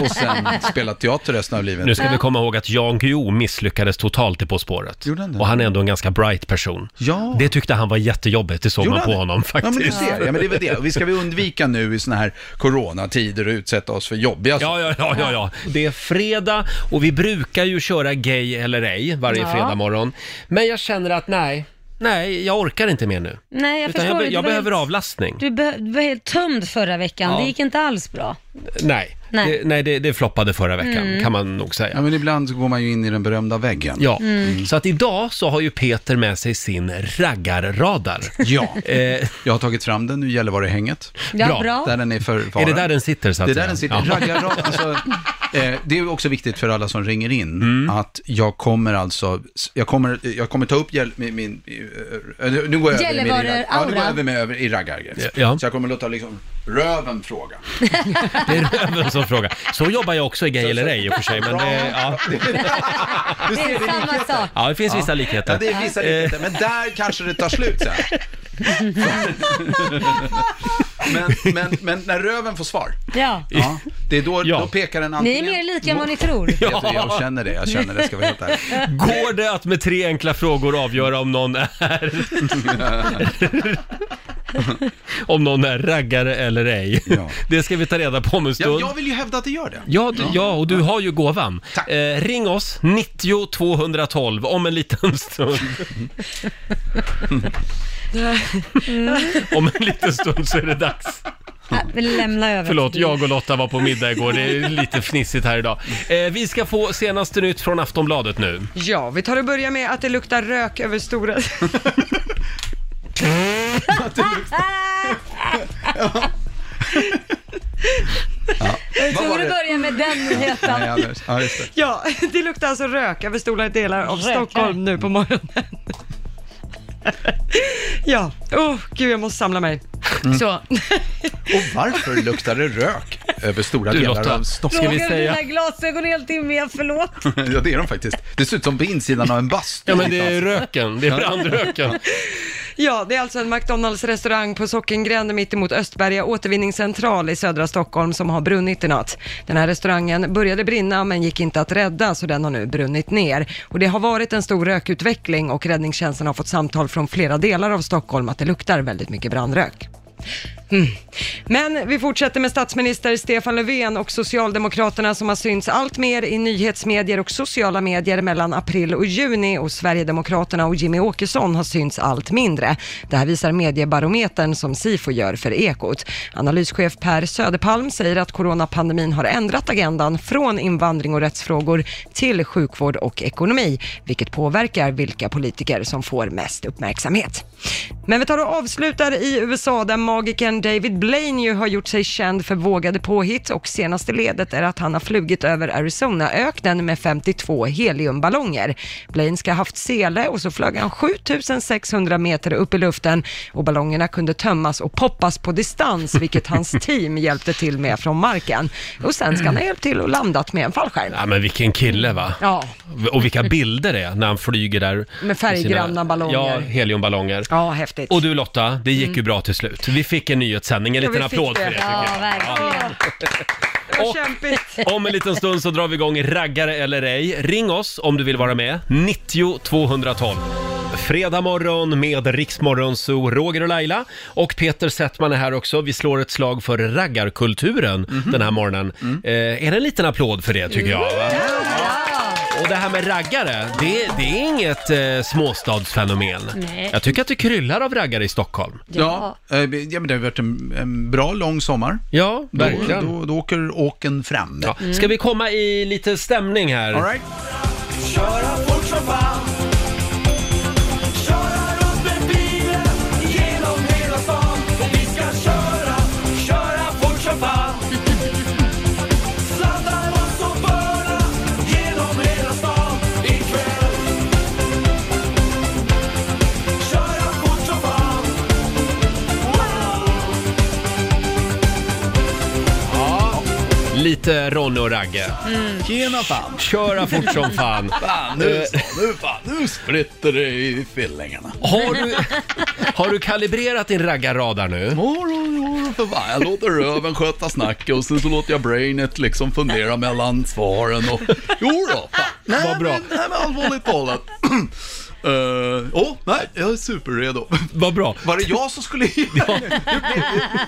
S10: och sen spelat teater resten av livet.
S1: Mm. Nu ska vi komma ihåg att Jan Guillou misslyckades totalt i På spåret.
S10: Gjorde han det?
S1: Och han är ändå en ganska bright person.
S10: Ja.
S1: Det tyckte han var jättejobbigt, det såg
S10: Gjorde
S1: man på
S10: han det?
S1: honom
S10: Ja, men du
S1: faktiskt.
S10: ser, ja, men det är väl det. Och Vi ska vi undvika nu i såna här coronatider och utsätta oss för jobbiga saker.
S1: Ja, ja, ja, ja, ja. Det är fredag och vi brukar ju köra Gay eller ej varje
S4: Ja.
S1: fredag morgon. Men jag känner att nej, nej, jag orkar inte mer nu.
S4: Nej, jag
S1: Utan
S4: förstår
S1: jag, be-
S4: det. Du
S1: jag
S4: var
S1: behöver
S4: helt-
S1: avlastning.
S4: Du, be- du var helt tömd förra veckan,
S1: Ja.
S4: det gick inte alls bra.
S1: Nej,
S4: Nej. Mm.
S1: Det, nej det, det floppade förra veckan kan man nog
S10: Ja,
S1: säga.
S10: men ibland så går man ju in i den berömda väggen.
S1: Ja,
S4: Mm.
S1: så att idag så har ju Peter med sig sin raggarradar.
S10: Ja.
S1: Eh,
S10: Jag har tagit fram den nu i Gällivare-hänget.
S4: Ja,
S1: Bra.
S4: bra.
S10: Där den är
S1: är
S10: förvarad.
S1: det där den sitter så att
S10: Det är där den
S1: säga?
S10: sitter.
S1: Ja.
S10: Raggarra- alltså, eh, det är också viktigt för alla som ringer in
S1: Mm.
S10: att jag kommer alltså, jag kommer, jag kommer ta upp gäll, min, min eh, nu går jag över, i min,
S4: Gällivare-
S10: ragg- ja, nu går
S4: aura.
S10: jag över med över i raggargrejen.
S1: Ja.
S10: Så jag kommer låta liksom röven fråga.
S1: Det är röven som frågar. Så jobbar jag också i Gay eller ej i och för sig, men
S10: Bra.
S1: det, ja.
S10: Du
S4: Det är
S10: ser,
S4: samma sak.
S1: ja, det finns vissa likheter.
S10: ja, det är vissa
S1: Eh.
S10: likheter, men där kanske det tar slut sen. men, men, men när röven får svar,
S4: Ja.
S10: ja, det är då,
S1: Ja.
S10: då pekar den
S4: Ni är
S10: antingen...
S4: mer lika än vad ni tror.
S10: Vet du, jag känner det, jag känner det, ska vi helt ärlig.
S1: Går det att med tre enkla frågor avgöra om någon är... om någon är raggare eller ej?
S10: Ja.
S1: Det ska vi ta reda på om en
S10: Ja,
S1: stund.
S10: jag vill ju hävda att det gör det.
S1: Ja, du, ja, och du har ju gåvan.
S10: Tack.
S1: Eh, ring oss, 90 212, om en liten stund. om en liten stund så är det dags
S4: Lämna över.
S1: Förlåt, jag och Lotta var på middag igår. Det är lite fnissigt här idag. Eh, vi ska få senaste nytt från Aftonbladet nu.
S2: Ja, vi tar och börjar med att det luktar rök över stora...
S4: Jag
S10: Vad var
S4: tror du
S10: det?
S4: börjar med den nyheten.
S10: Nej, Anders. Ja, just det.
S2: Ja, det luktar alltså rök över stora delar av
S4: Rökare.
S2: Stockholm nu på morgonen. Ja, oh, gud jag måste samla mig. Så.
S10: Och varför luktar det rök över stora
S1: Du,
S10: delar
S1: Lotta,
S10: av Stockholm?
S4: Frågar du dina glasögon helt timmiga, förlåt.
S10: ja, det är de faktiskt. Det ser ut som på insidan av en bastu. alltså.
S1: Ja, men det är röken. Det är brandröken.
S2: Ja, det är alltså en McDonalds-restaurang på Sockengränd mittemot Östberga återvinningscentral i södra Stockholm som har brunnit i natt. Den här restaurangen började brinna men gick inte att rädda så den har nu brunnit ner. Och det har varit en stor rökutveckling och räddningstjänsten har fått samtal från flera delar av Stockholm att det luktar väldigt mycket brandrök. Mm. Men vi fortsätter med statsminister Stefan Löfven och Socialdemokraterna som har synts allt mer i nyhetsmedier och sociala medier mellan april och juni och Sverigedemokraterna och Jimmy Åkesson har synts allt mindre. Det här visar Mediebarometern som Sifo gör för Ekot. Analyschef Per Söderpalm säger att coronapandemin har ändrat agendan från invandring och rättsfrågor till sjukvård och ekonomi, vilket påverkar vilka politiker som får mest uppmärksamhet. Men vi tar och avslutar i USA där magikern David Blaine ju har gjort sig känd för vågade påhitt och senaste ledet är att han har flugit över Arizonaöknen med 52 heliumballonger. Blaine ska ha haft sele och så flög han 7600 meter upp i luften och ballongerna kunde tömmas och poppas på distans, vilket hans team hjälpte till med från marken. Och sen ska han ha hjälpt till och landat med en fallskärm.
S1: Ja, men vilken kille va?
S2: Ja,
S1: Och vilka bilder det är när han flyger där.
S2: Med färggranna
S1: sina-
S2: ballonger.
S1: Ja, heliumballonger.
S2: ja häftigt.
S1: Och du Lotta, det gick ju bra till slut. Vi fick en nyhetssändning, en
S2: Mm. Ja,
S1: liten
S2: vi fick
S1: applåd
S2: det.
S1: för det tycker
S4: Ja,
S1: jag.
S4: verkligen.
S2: Det var kämpigt.
S1: Om en liten stund så drar vi igång Raggare eller ej. Ring oss om du vill vara med. 90 212. Fredag morgon med Riksmorgon Zoo, Roger och Laila. Och Peter Settman är här också. Vi slår ett slag för raggarkulturen
S2: Mhm.
S1: den här morgonen.
S2: Mm.
S1: Eh, är det en liten applåd för det tycker jag? Va? Och det här med raggare, det, det är inget eh, småstadsfenomen.
S4: Nej.
S1: Jag tycker att det kryllar av raggare i Stockholm.
S10: Ja, eh, ja, men det har varit en, en bra lång sommar.
S1: Ja,
S10: Då,
S1: verkligen.
S10: då, då åker åken fram.
S1: Ja. Ska vi komma i lite stämning här?
S10: Mm. All right.
S3: Köra fort som fan Köra runt med bilen genom hela stan Och vi ska köra, köra fort som fan Sladdar oss och börna genom hela stan ikväll Köra fort som fan Wow!
S1: Lite Ronny och Ragge.
S10: Tjena fan. Eh,
S1: Köra fort som fan.
S10: Fan, nu, nu, fan, nu spritter det i fillingarna.
S1: Har du, har du kalibrerat din raggarradar nu?
S10: Moro, moro, för fan. Jag låter röven sköta snacket och sen så låter jag brainet liksom fundera mellan svaren och... Jo då, fan. Nej,
S1: Vad bra.
S10: Men, nej, men allvarligt talat. Eh, Åh, nej, jag är superredo.
S1: Vad bra.
S10: Var det jag som skulle... ja.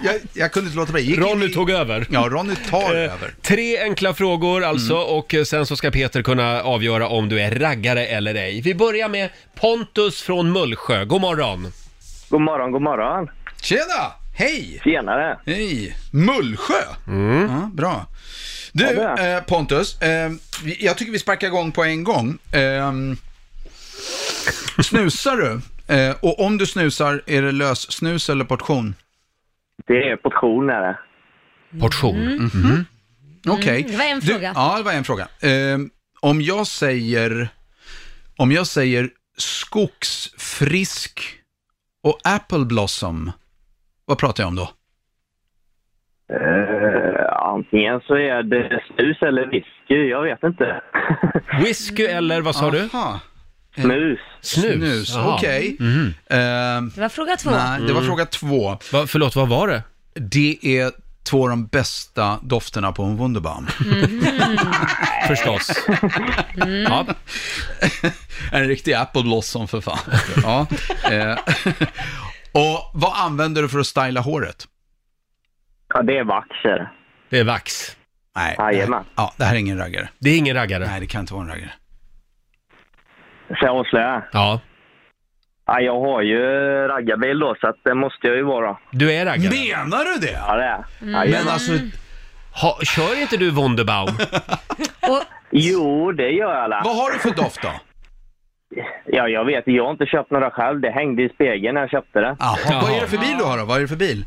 S10: jag, jag kunde inte låta bli. Jag gick in
S1: Ronny
S10: i-
S1: tog över.
S10: Ja, Ronny tar
S1: Eh,
S10: över. Mm.
S1: Tre enkla frågor alltså och eh, sen så ska Peter kunna avgöra om du är raggare eller ej. Vi börjar med Pontus från Mullsjö. God morgon.
S11: God morgon, god morgon.
S10: Tjena! Hej!
S11: Tjenare.
S10: Hej! Mullsjö! Ja, bra. Du,
S11: Ja, det.
S10: eh, Pontus, eh, vi- jag tycker vi sparkar igång på en gång. Eh, snusar du? Eh, och om du snusar, är det lös snus eller portion?
S11: Det är portion är det.
S1: Portion.
S10: Mm. Okej.
S4: Mm, det var en
S10: Du-
S4: fråga.
S10: Ja, det var en fråga. Eh, om jag säger, om jag säger skogsfrisk och apple blossom, vad pratar jag om då?
S11: Eh, antingen så är det snus eller whisky, jag vet inte.
S1: Mm. Whisky eller vad sa du?
S10: Aha.
S11: snus.
S1: Snus.
S10: Ah, Snus,
S1: Jaha.
S10: okej. Eh,
S4: Det var fråga två.
S10: Nej, det var fråga två.
S1: Va, förlåt, vad var det?
S10: Det är två av de bästa dofterna på en Wunderbaum.
S1: Förstås.
S10: Mm.
S1: Ja.
S10: en riktig apple blossom för fan. Ja. eh, Och vad använder du för att styla håret?
S11: Ja, det är vaxer.
S1: Det är vax.
S10: Nej,
S11: Jajamän.
S10: ja, det här är ingen raggare.
S1: Det är ingen raggare.
S10: Nej, det kan inte vara en raggare.
S11: Sävslö.
S1: Ja.
S11: Ja, jag har ju raggarbil då, så att det måste jag ju vara.
S1: Du är raggare?
S10: Menar du det?
S11: Ja, det är
S1: Mm.
S11: Jajamän.
S1: Men alltså- Ha, kör inte du Wunderbaum?
S11: Jo, det gör jag. alla.
S10: Vad har du för doft då?
S11: Ja, jag vet. Jag har inte köpt några själv. Det hängde i spegeln när jag köpte det.
S10: Jaha. Vad är det för bil du har då? Vad är det för bil?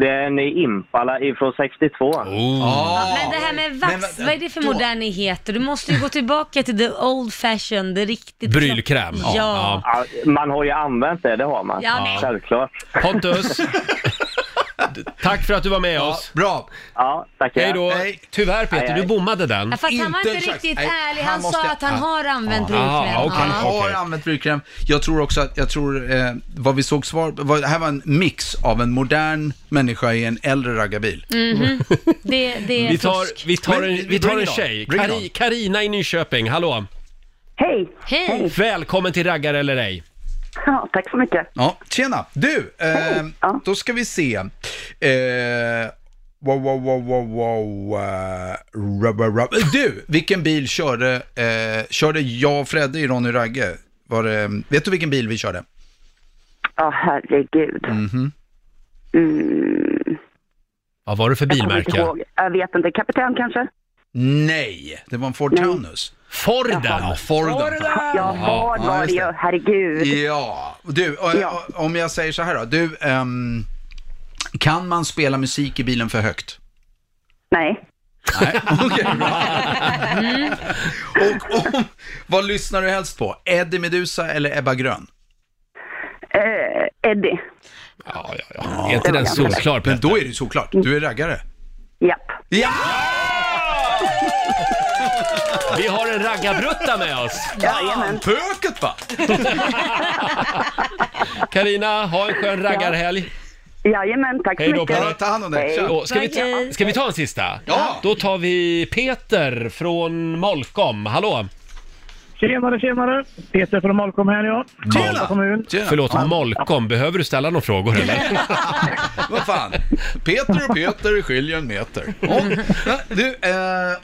S11: Det är en Impala ifrån 62.
S1: Oh,
S4: Ja, men det här med vax, vad är det för moderniteter? Du måste ju gå tillbaka till the old fashion, det riktigt...
S1: Brylkräm.
S4: Ja. Ja.
S11: Man har ju använt det, det har man.
S4: Ja, men-
S11: Självklart.
S1: Pontus, tack för att du var med oss.
S10: Bra.
S11: Ja, tackar.
S1: Hej då.
S11: Hej.
S1: Tyvärr
S11: Hej,
S1: Peter,
S11: hej.
S1: du bommade den.
S4: Ja, fast han var inte riktigt ärlig, han, sa att han har använt brylkräm.
S10: brylkräm.
S4: Ja.
S10: Han har använt brylkräm. Jag tror också att, jag tror, eh, vad vi såg svar vad, det här var en mix av en modern människa i en äldre raggarbil.
S4: Mhm. Det, det är
S1: Vi tar,
S4: fusk.
S1: vi tar
S10: Men-
S1: en, vi tar
S10: bring
S1: en
S10: it on.
S1: tjej.
S10: Bring it
S1: Kari-
S10: on.
S1: Karina i Nyköping, hallå.
S7: Hej!
S4: Hej!
S1: Välkommen till Raggar eller ej.
S7: Ja, tack så mycket.
S10: Ja, tjena. Du, eh, då ska vi se. Eh, wow, wow, wow, wow, wow. eh, rub, rub, rub. Du, vilken bil körde, eh, körde jag och Fredde i Ronny Ragge? Var det, vet du vilken bil vi körde?
S7: Ja, herregud.
S10: Mhm.
S7: Mm.
S1: Vad var det för
S7: Jag kommer inte
S1: bilmärke?
S7: ihåg. Jag vet inte. Kapten kanske?
S10: Nej, det var en Ford Taunus.
S1: Forden?
S10: Ja, Forden.
S7: Ja, vad var det? ju? Herregud.
S10: Ja, du, och-
S7: Ja.
S10: och- om jag säger så här då. Du, ehm, kan man spela musik i bilen för högt?
S7: Nej.
S10: Nej, okej.
S7: Mm.
S10: och, och vad lyssnar du helst på? Eddie Meduza eller Ebba Grön?
S7: Eh, Eddie.
S1: Ja, ja, ja. Är inte den solklar
S10: Men då är det ju såklart. Du är raggare.
S7: Japp.
S10: Ja!
S1: Vi har en raggarbrutta med oss.
S7: Mm.
S10: Fan, pöket va?
S1: Karina, ha en skön raggarhelg.
S7: Jajamän, tack
S1: Hej
S7: så
S1: då på
S7: mycket.
S1: dig. Och Ska, vi ta, ska vi ta en sista?
S10: Ja.
S1: Då tar vi Peter från Molkom. Hallå!
S12: Tjenare, tjenare! Peter från Molkom här ja. Karlstad kommun.
S1: Förlåt, Molkom. Behöver du ställa några frågor eller?
S10: Vad fan? Peter och Peter skiljer en meter. Och, du, eh,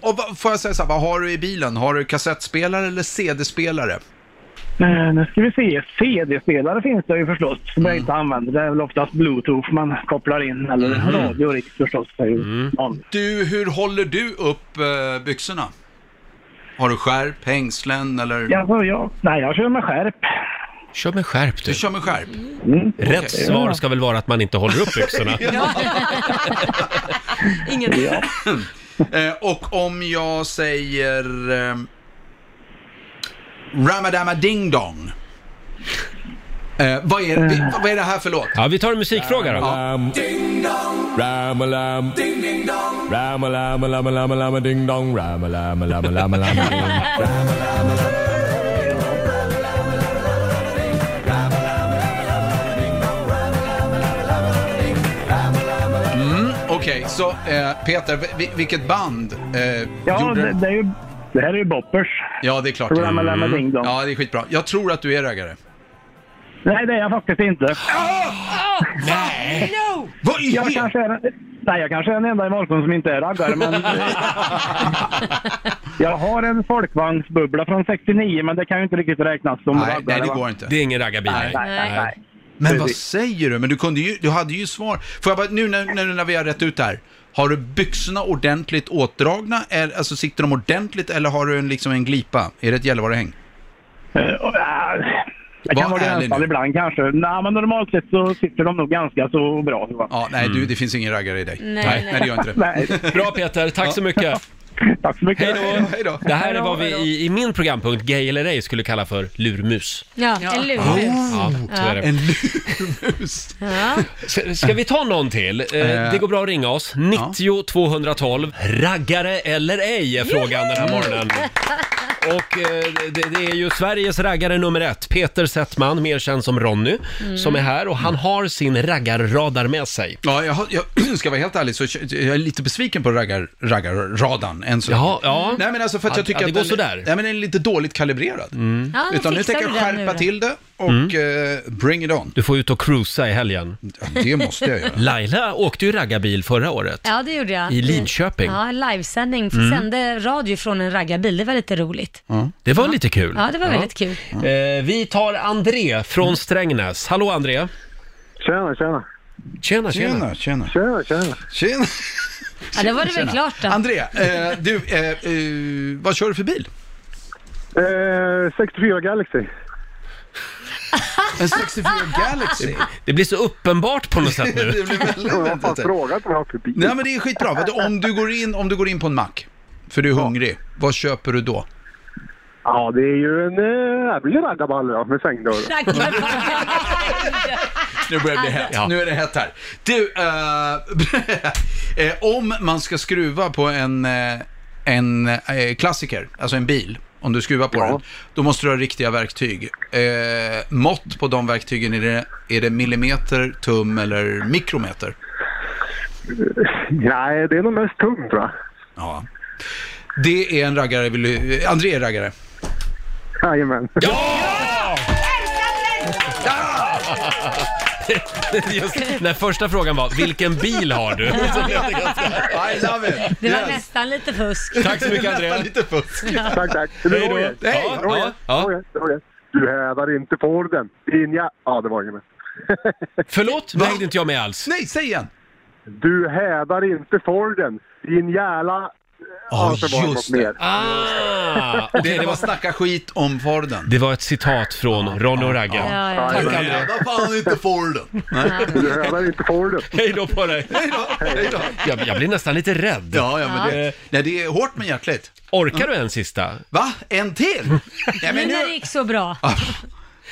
S10: och vad- får jag säga så här, vad har du i bilen? Har du kassettspelare eller CD-spelare?
S12: Eh, Nu ska vi se. CD-spelare finns det ju förstås, som
S10: Mm.
S12: jag inte använder. Det är väl oftast bluetooth man kopplar in, eller radio rikt förstås. Det är ju någon.
S10: Mm. Du, hur håller du upp eh, byxorna? Har du skärp, hängslen eller?
S12: Ja, så jag, nej, jag kör med skärp.
S1: Kör med skärp du.
S10: Du kör med skärp?
S1: Rätt
S10: Okej.
S1: svar ska väl vara att man inte håller upp byxorna.
S4: Ingen...
S10: Eh, och om jag säger eh, Ramadama Ding Dong. Eh, vad, är, vi- vad är det här för låt?
S1: Ja, vi tar en musikfråga då.
S13: Ding dong, ramalam, ding ding dong, ramalam, lama lama lama ding dong, ramalam, lama lama lama ding.
S10: Mm, Okej, så eh, Peter, vi- vilket band eh,
S12: Ja,
S10: gjorde
S12: det, det, är ju, det här är ju boppers.
S10: Ja, det är klart.
S12: Ramalama Ding Dong.
S10: Mm. Ja, det är skitbra. Jag tror att du är raggare.
S12: Nej, det är jag faktiskt inte.
S10: Nej!
S12: No!
S10: Vad är
S12: jag kanske är, Nej, jag kanske är den enda i Molkom som inte är raggare, men... jag har en folkvagnsbubbla från 69, men det kan ju inte riktigt räknas som
S10: Nej,
S12: raggare.
S10: nej, det
S12: va?
S10: går inte.
S1: Det är ingen raggarbil.
S10: Nej,
S12: nej, nej, nej.
S10: Men vad
S12: Precis.
S10: säger du? Men du, kunde ju, du hade ju svar. Får jag bara, nu när, när, när vi har rätt ut det här. Har du byxorna ordentligt åtdragna? Eller, alltså sitter de ordentligt eller har du en, liksom en glipa? Är det ett Gällivarehäng?
S12: Det Eh, kan
S10: Var
S12: vara
S10: ärlig
S12: gränsfall
S10: nu.
S12: ibland kanske. Nej, men normalt sett så sitter de nog ganska så bra.
S10: Ja, nej, du, det finns ingen raggare i dig.
S12: Nej,
S10: nej,
S12: Mm. nej.
S10: det gör inte det.
S1: Bra Peter, tack så mycket.
S12: Tack så mycket.
S1: Hej då. Det här är vad vi i, i min programpunkt, Gay eller ej, skulle kalla för lurmus.
S4: Ja, Oh. en lurmus.
S1: Ja, så är det.
S10: En lurmus.
S4: Ja.
S1: Ska, ska vi ta någon till? Eh,
S10: Eh.
S1: det går bra att ringa oss. 90 212. Raggare eller ej är frågan den här morgonen. Och eh, det, det är ju Sveriges raggare nummer ett, Peter Settman, mer känd som Ronny,
S10: Mm.
S1: som är här och han har sin raggarradar med sig.
S10: Ja, jag, har- jag ska vara helt ärlig så jag jag är lite besviken på raggar, raggarradan än så länge. Nej men alltså för att
S1: Ja,
S10: jag tycker
S1: ja, det
S10: att
S1: går
S10: den,
S1: sådär. Mm.
S10: Nej, men den är lite dåligt kalibrerad.
S1: Ja, men
S10: Utan nu
S1: fixar
S10: tänker jag
S1: du den nu
S10: skärpa
S1: då?
S10: till det och
S1: Mm.
S10: eh, bring it on.
S1: Du får ut och cruisa i helgen.
S10: Det måste jag göra.
S1: Laila åkte ju raggarbil förra året.
S4: Ja, det gjorde jag.
S1: I Linköping.
S4: Ja, en livesändning.
S1: Mm.
S4: Sände radio från en raggarbil. Det var lite roligt.
S1: Det var lite kul.
S4: Ja, det var väldigt kul.
S1: Eh, vi tar André från Strängnäs. Hallå André!
S14: Tjena, tjena!
S1: Tjena,
S10: tjena!
S1: tjena.
S10: Tjena,
S14: tjena! Tjena,
S10: tjena!
S4: Ja, det var det väl
S10: Tjena.
S4: klart då.
S10: André, eh, du, eh, eh, vad kör du för bil?
S14: Eh, 64 Galaxy.
S10: En 64 Galaxy?
S1: Det blir så uppenbart på något sätt nu.
S10: Det blir väldigt-
S14: Jag har fan frågat vad jag har för bil.
S10: Nej men det är skitbra. Vadå, Om du går in, om du går in på en mack, för du är hungrig, vad köper du då?
S14: Ja, det är ju en eh, jävlig raggarballe ja, med svängdörr.
S10: Nu börjar det bli hett. Nu är det hett här. Du, eh, eh, om man ska skruva på en, eh, en eh, klassiker, alltså en bil, om du skruvar på den, då måste du ha riktiga verktyg. Eh, mått på de verktygen, är det, är det millimeter, tum eller mikrometer?
S14: Nej, det är nog mest tung tror jag.
S10: Ja. Det är en raggare, vill du, eh, André är raggare.
S14: Jajamän.
S1: Just när första frågan var, vilken bil har du? Så blev det ganska-
S10: I love it!
S4: Det var nästan lite fusk.
S1: Tack så mycket André.
S14: Tack, tack.
S1: Hej då.
S14: Roger.
S1: Hej.
S14: Ja, Roger.
S1: Ja.
S14: Roger, Roger. Du hädar inte Forden. Din jä... Ja, det var inget mer.
S1: Förlåt? Det hängde inte jag med alls.
S10: Nej, säg igen!
S14: Du hädar inte Forden. Din jävla...
S10: Ja,
S14: det var något
S10: just
S14: mer.
S10: det. Ah, det, var snacka skit om Forden.
S1: Det var ett citat från Ronny och Ragge.
S10: Ja, ja.
S1: Tack
S10: Ja,
S1: André.
S10: jävla fan inte Forden.
S14: Du hädar inte Forden.
S1: Hej då på dig.
S10: Hej då. Hej då.
S1: Jag, jag blir nästan lite rädd.
S10: Ja, ja, men det- nej, det är hårt men hjärtligt.
S1: Orkar du en sista?
S10: Va? En till? Ja,
S4: Nu
S10: men
S4: när det
S10: nu... Ah.
S4: gick så bra.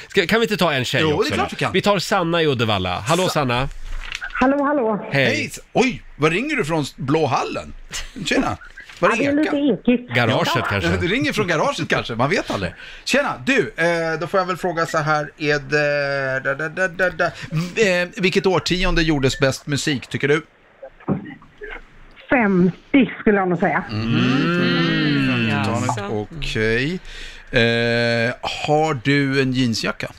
S1: Ska, kan vi inte ta en tjej
S10: Jo, det är
S1: också?
S10: klart
S1: då?
S10: vi kan.
S1: tar Sanna i Uddevalla. Hallå Sanna!
S15: Hallå, hallå.
S1: Hej.
S10: Oj, var ringer du från Blåhallen? Tjena! Var
S15: Ja, det är lite ekigt.
S1: Garaget
S10: Ja.
S1: kanske.
S10: Du ringer från garaget kanske, man vet aldrig. Tjena, du, eh, då får jag väl fråga så här, är det... Da, da, da, da, da. Eh, vilket årtionde gjordes bäst musik, tycker du?
S15: 50 skulle jag nog säga.
S1: Mm.
S10: Titanic, Mm. Okej. Eh, har du en jeansjacka?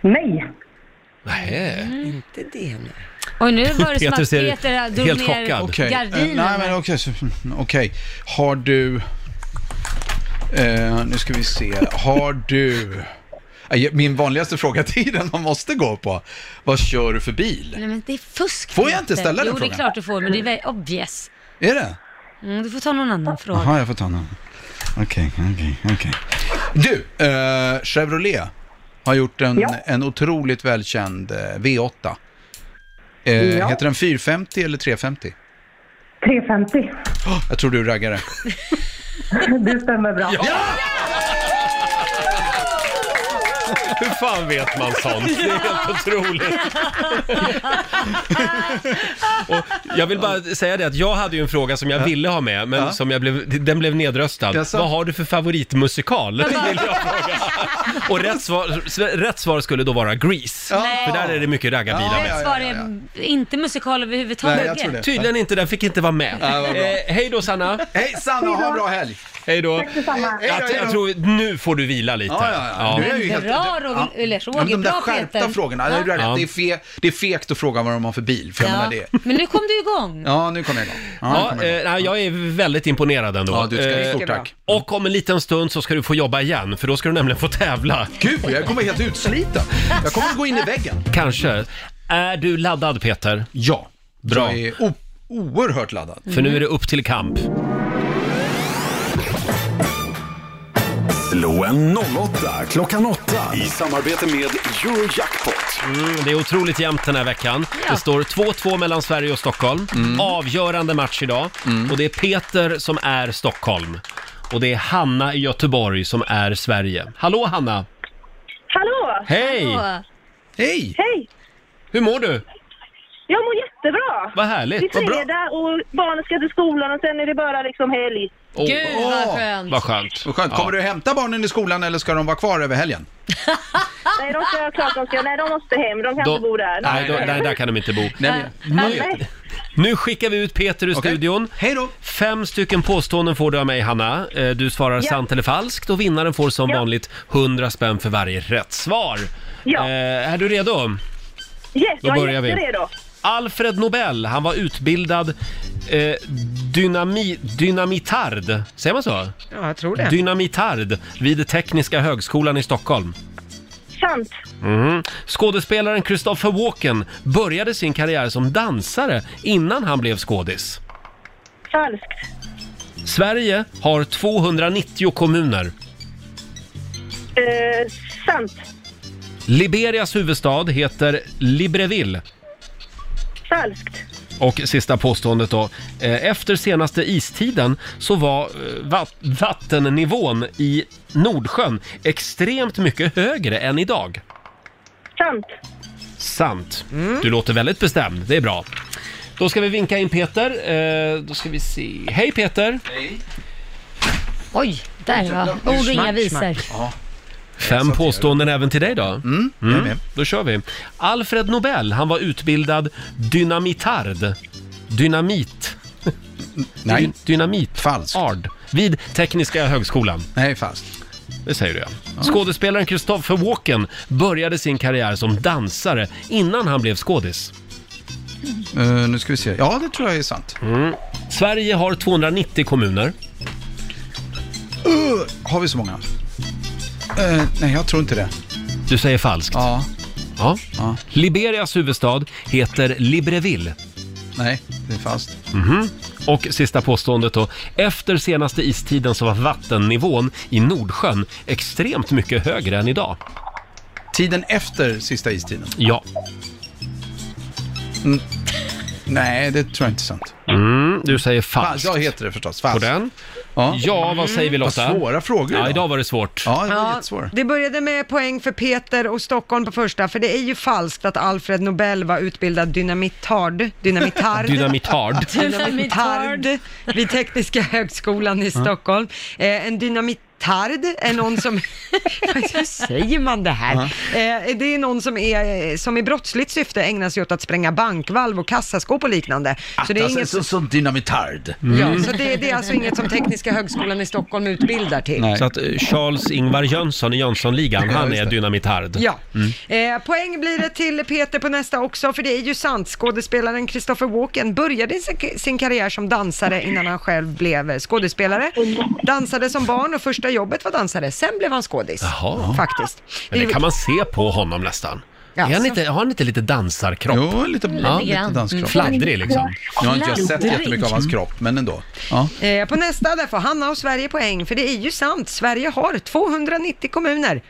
S15: Nej.
S1: Nej.
S2: Inte det nu.
S4: Oj, nu var det som
S10: Peter
S4: att
S10: ser
S4: Peter drog
S10: helt
S4: ner
S10: chockad. Okej. Eh,
S4: gardinen.
S10: nej, men okej. så- Okej. Har du... Eh, nu ska vi se. Har du... Eh, Min vanligaste fråga till den man måste gå på. Vad kör du för bil?
S4: Nej, men det är fusk.
S10: Får jag inte
S4: Peter.
S10: ställa den
S4: Jo, det är
S10: frågan?
S4: klart du får, men det är väl obvious.
S10: Är det?
S4: Mm, du får ta någon annan fråga.
S10: Jaha, jag får ta den. Okej, okej, okej. Du, eh, Chevrolet har gjort en,
S4: Ja.
S10: en otroligt välkänd eh, V8. Eh,
S15: Ja.
S10: Heter den 450 eller 350?
S15: 350.
S10: Jag tror du är raggare.
S15: Det stämmer bra.
S1: Hur fan vet man sånt? Det är helt otroligt. Och jag vill bara säga det att jag hade ju en fråga som jag ville ha med, men
S13: Ja.
S1: som jag blev, den blev nedröstad. Vad har du för favoritmusikal? Vill jag fråga. Och rätt svar, s- rätt svar skulle då vara Grease.
S4: Ja. Nej.
S1: För där är det mycket raggarbilar
S4: Rätt
S1: med.
S4: svar är inte musikal överhuvudtaget.
S1: Tydligen inte, den fick inte vara med.
S4: Ja, vad bra.
S1: eh, hej då Sanna!
S10: Hej Sanna,
S1: ha
S10: en bra helg!
S1: Hej då!
S4: Tack detsamma.
S1: Jag, jag tror nu får du vila lite.
S10: Ja, ja, ja. Nu är jag ju helt-
S4: Bra Roger, eller
S10: Ja, men
S4: Roger,
S10: de där
S4: bra
S10: skärpta
S4: Peter.
S10: frågorna, ja.
S4: Ja.
S10: du har rätt. Det, är fe, det är fegt att fråga vad de har för bil, för jag
S4: Ja.
S10: menar det.
S4: Men nu kom du igång.
S10: Ja, nu kommer jag igång. Ja, nu
S1: Ja,
S10: kommer jag igång.
S1: eh, nej, jag är väldigt imponerad ändå.
S10: Ja, du ska-
S1: Eh,
S10: stort tack.
S1: Och om en liten stund så ska du få jobba igen, för då ska du nämligen få tävla.
S10: Gud, jag kommer helt utsliten. Jag kommer att gå in i väggen.
S1: Kanske. Är du laddad Peter?
S10: Ja.
S1: Bra.
S10: Jag är o- oerhört laddad.
S1: För nu är det upp till kamp.
S16: Slå en 08 klockan 8 i samarbete med Eurojackpot.
S1: Mm, det är otroligt jämnt den här veckan. Det står 2-2 mellan Sverige och Stockholm. Avgörande match idag. Och det är Peter som är Stockholm. Och det är Hanna i Göteborg som är Sverige. Hallå Hanna!
S17: Hallå!
S1: Hej!
S17: Hallå.
S1: Hej!
S17: Hej!
S1: Hur mår du?
S17: Jag mår jättebra.
S1: Vad härligt,
S17: Det är
S1: vad bra.
S17: fredag och barnen ska till skolan och sen är det bara liksom helg.
S1: Åh. Gud,
S10: vad
S17: skönt.
S1: Vad skönt.
S10: Vad skönt. Kommer du hämta barnen i skolan eller ska de vara kvar över helgen?
S17: Nej, de ska klart de ska. Nej, de måste hem. De kan
S1: De-
S17: inte bo där.
S1: Nej, då, nej, där kan de inte bo. nu, nu skickar vi ut Peter ur studion. Mm.
S10: Hej då!
S1: Fem stycken påståenden får du av mig, Hanna. Eh, Du svarar sant eller falskt och vinnaren får som vanligt 100 spänn för varje rätt svar. Eh, är du redo?
S17: Yes,
S1: Då
S17: jag är
S1: börjar vi.
S17: jätteredo.
S1: Alfred Nobel, han var utbildad eh, dynami, dynamitard, säger man så?
S2: Ja, jag tror det.
S1: Dynamitard vid Tekniska högskolan i Stockholm.
S17: Sant.
S1: Mhm. Skådespelaren Christopher Walken började sin karriär som dansare innan han blev skådis.
S17: Falskt.
S1: Sverige har 290 kommuner.
S17: Eh, sant.
S1: Liberias huvudstad heter Libreville.
S17: Falskt.
S1: Och sista påståendet då. Eh, Efter senaste istiden så var eh, vat- vattennivån i Nordsjön extremt mycket högre än idag.
S17: Sant.
S1: Sant. Du låter väldigt bestämd, det är bra. Då ska vi vinka in Peter. Eh, Då ska vi se. Hej Peter!
S4: Oj, där var ord och inga visor.
S1: Fem påståenden även till dig då. Mm, Då kör vi. Alfred Nobel, han var utbildad dynamitard. Dynamit.
S10: Nej.
S1: Dynamit. Falskt. Ard. Vid Tekniska högskolan.
S10: Nej, falskt.
S1: Det säger du ja. Skådespelaren Christopher Walken började sin karriär som dansare innan han blev skådis.
S10: Eh, nu ska vi se. Ja, det tror jag är sant.
S1: Mm. Sverige har 290 kommuner.
S10: Uh, har vi så många? Eh, nej, jag tror inte det.
S1: Du säger falskt. Ja. ja. Liberias huvudstad heter Libreville.
S10: Nej, det är falskt.
S1: Mhm. Och sista påståendet då. Efter senaste istiden så var vattennivån i Nordsjön extremt mycket högre än idag.
S10: Tiden efter sista istiden?
S1: Ja.
S10: Mm. Nej, det tror jag inte är sant.
S1: Mm, du säger falskt.
S10: Jag heter det förstås. Falskt.
S1: På den. Ja, vad säger vi
S10: Vad
S1: Lotta?
S10: svåra frågor
S1: Ja,
S10: idag.
S1: idag var det svårt.
S10: Ja,
S2: det började med poäng för Peter och Stockholm på första, för det är ju falskt att Alfred Nobel var utbildad dynamitard, dynamitard,
S1: Dynamitard.
S2: dynamitard vid Tekniska högskolan i
S1: Ja.
S2: Stockholm. Eh, en dynamitard är någon som, hur säger man det här? Eh, det är någon som, är, eh, som i brottsligt syfte ägnar sig åt att spränga bankvalv och kassaskåp och liknande. Så det är inget
S10: alltså, så, så dynamitard.
S2: Ja, så det, det är alltså inget som Tekniska högskolan i Stockholm utbildar till.
S1: Så att eh, Charles Ingvar Jönsson i Jönssonligan, han är dynamitard.
S2: Ja.
S1: Mm.
S2: Eh, poäng blir det till Peter på nästa också, för det är ju sant. Skådespelaren Christopher Walken började sin- sin karriär som dansare innan han själv blev skådespelare. Dansade som barn och första jobbet var dansare, sen blev han skådis.
S1: Jaha.
S2: Faktiskt.
S1: Men det kan man se på honom nästan.
S2: Ja,
S1: är han
S2: så-
S1: inte, har han inte lite dansarkropp?
S10: Jo, lite,
S1: ja,
S10: lite danskropp.
S1: Mm. Fladdrig liksom.
S10: Nu har inte jag sett jättemycket av hans kropp, men ändå. Ja.
S2: Eh, på nästa där får Hanna och Sverige poäng, för det är ju sant. Sverige har 290 kommuner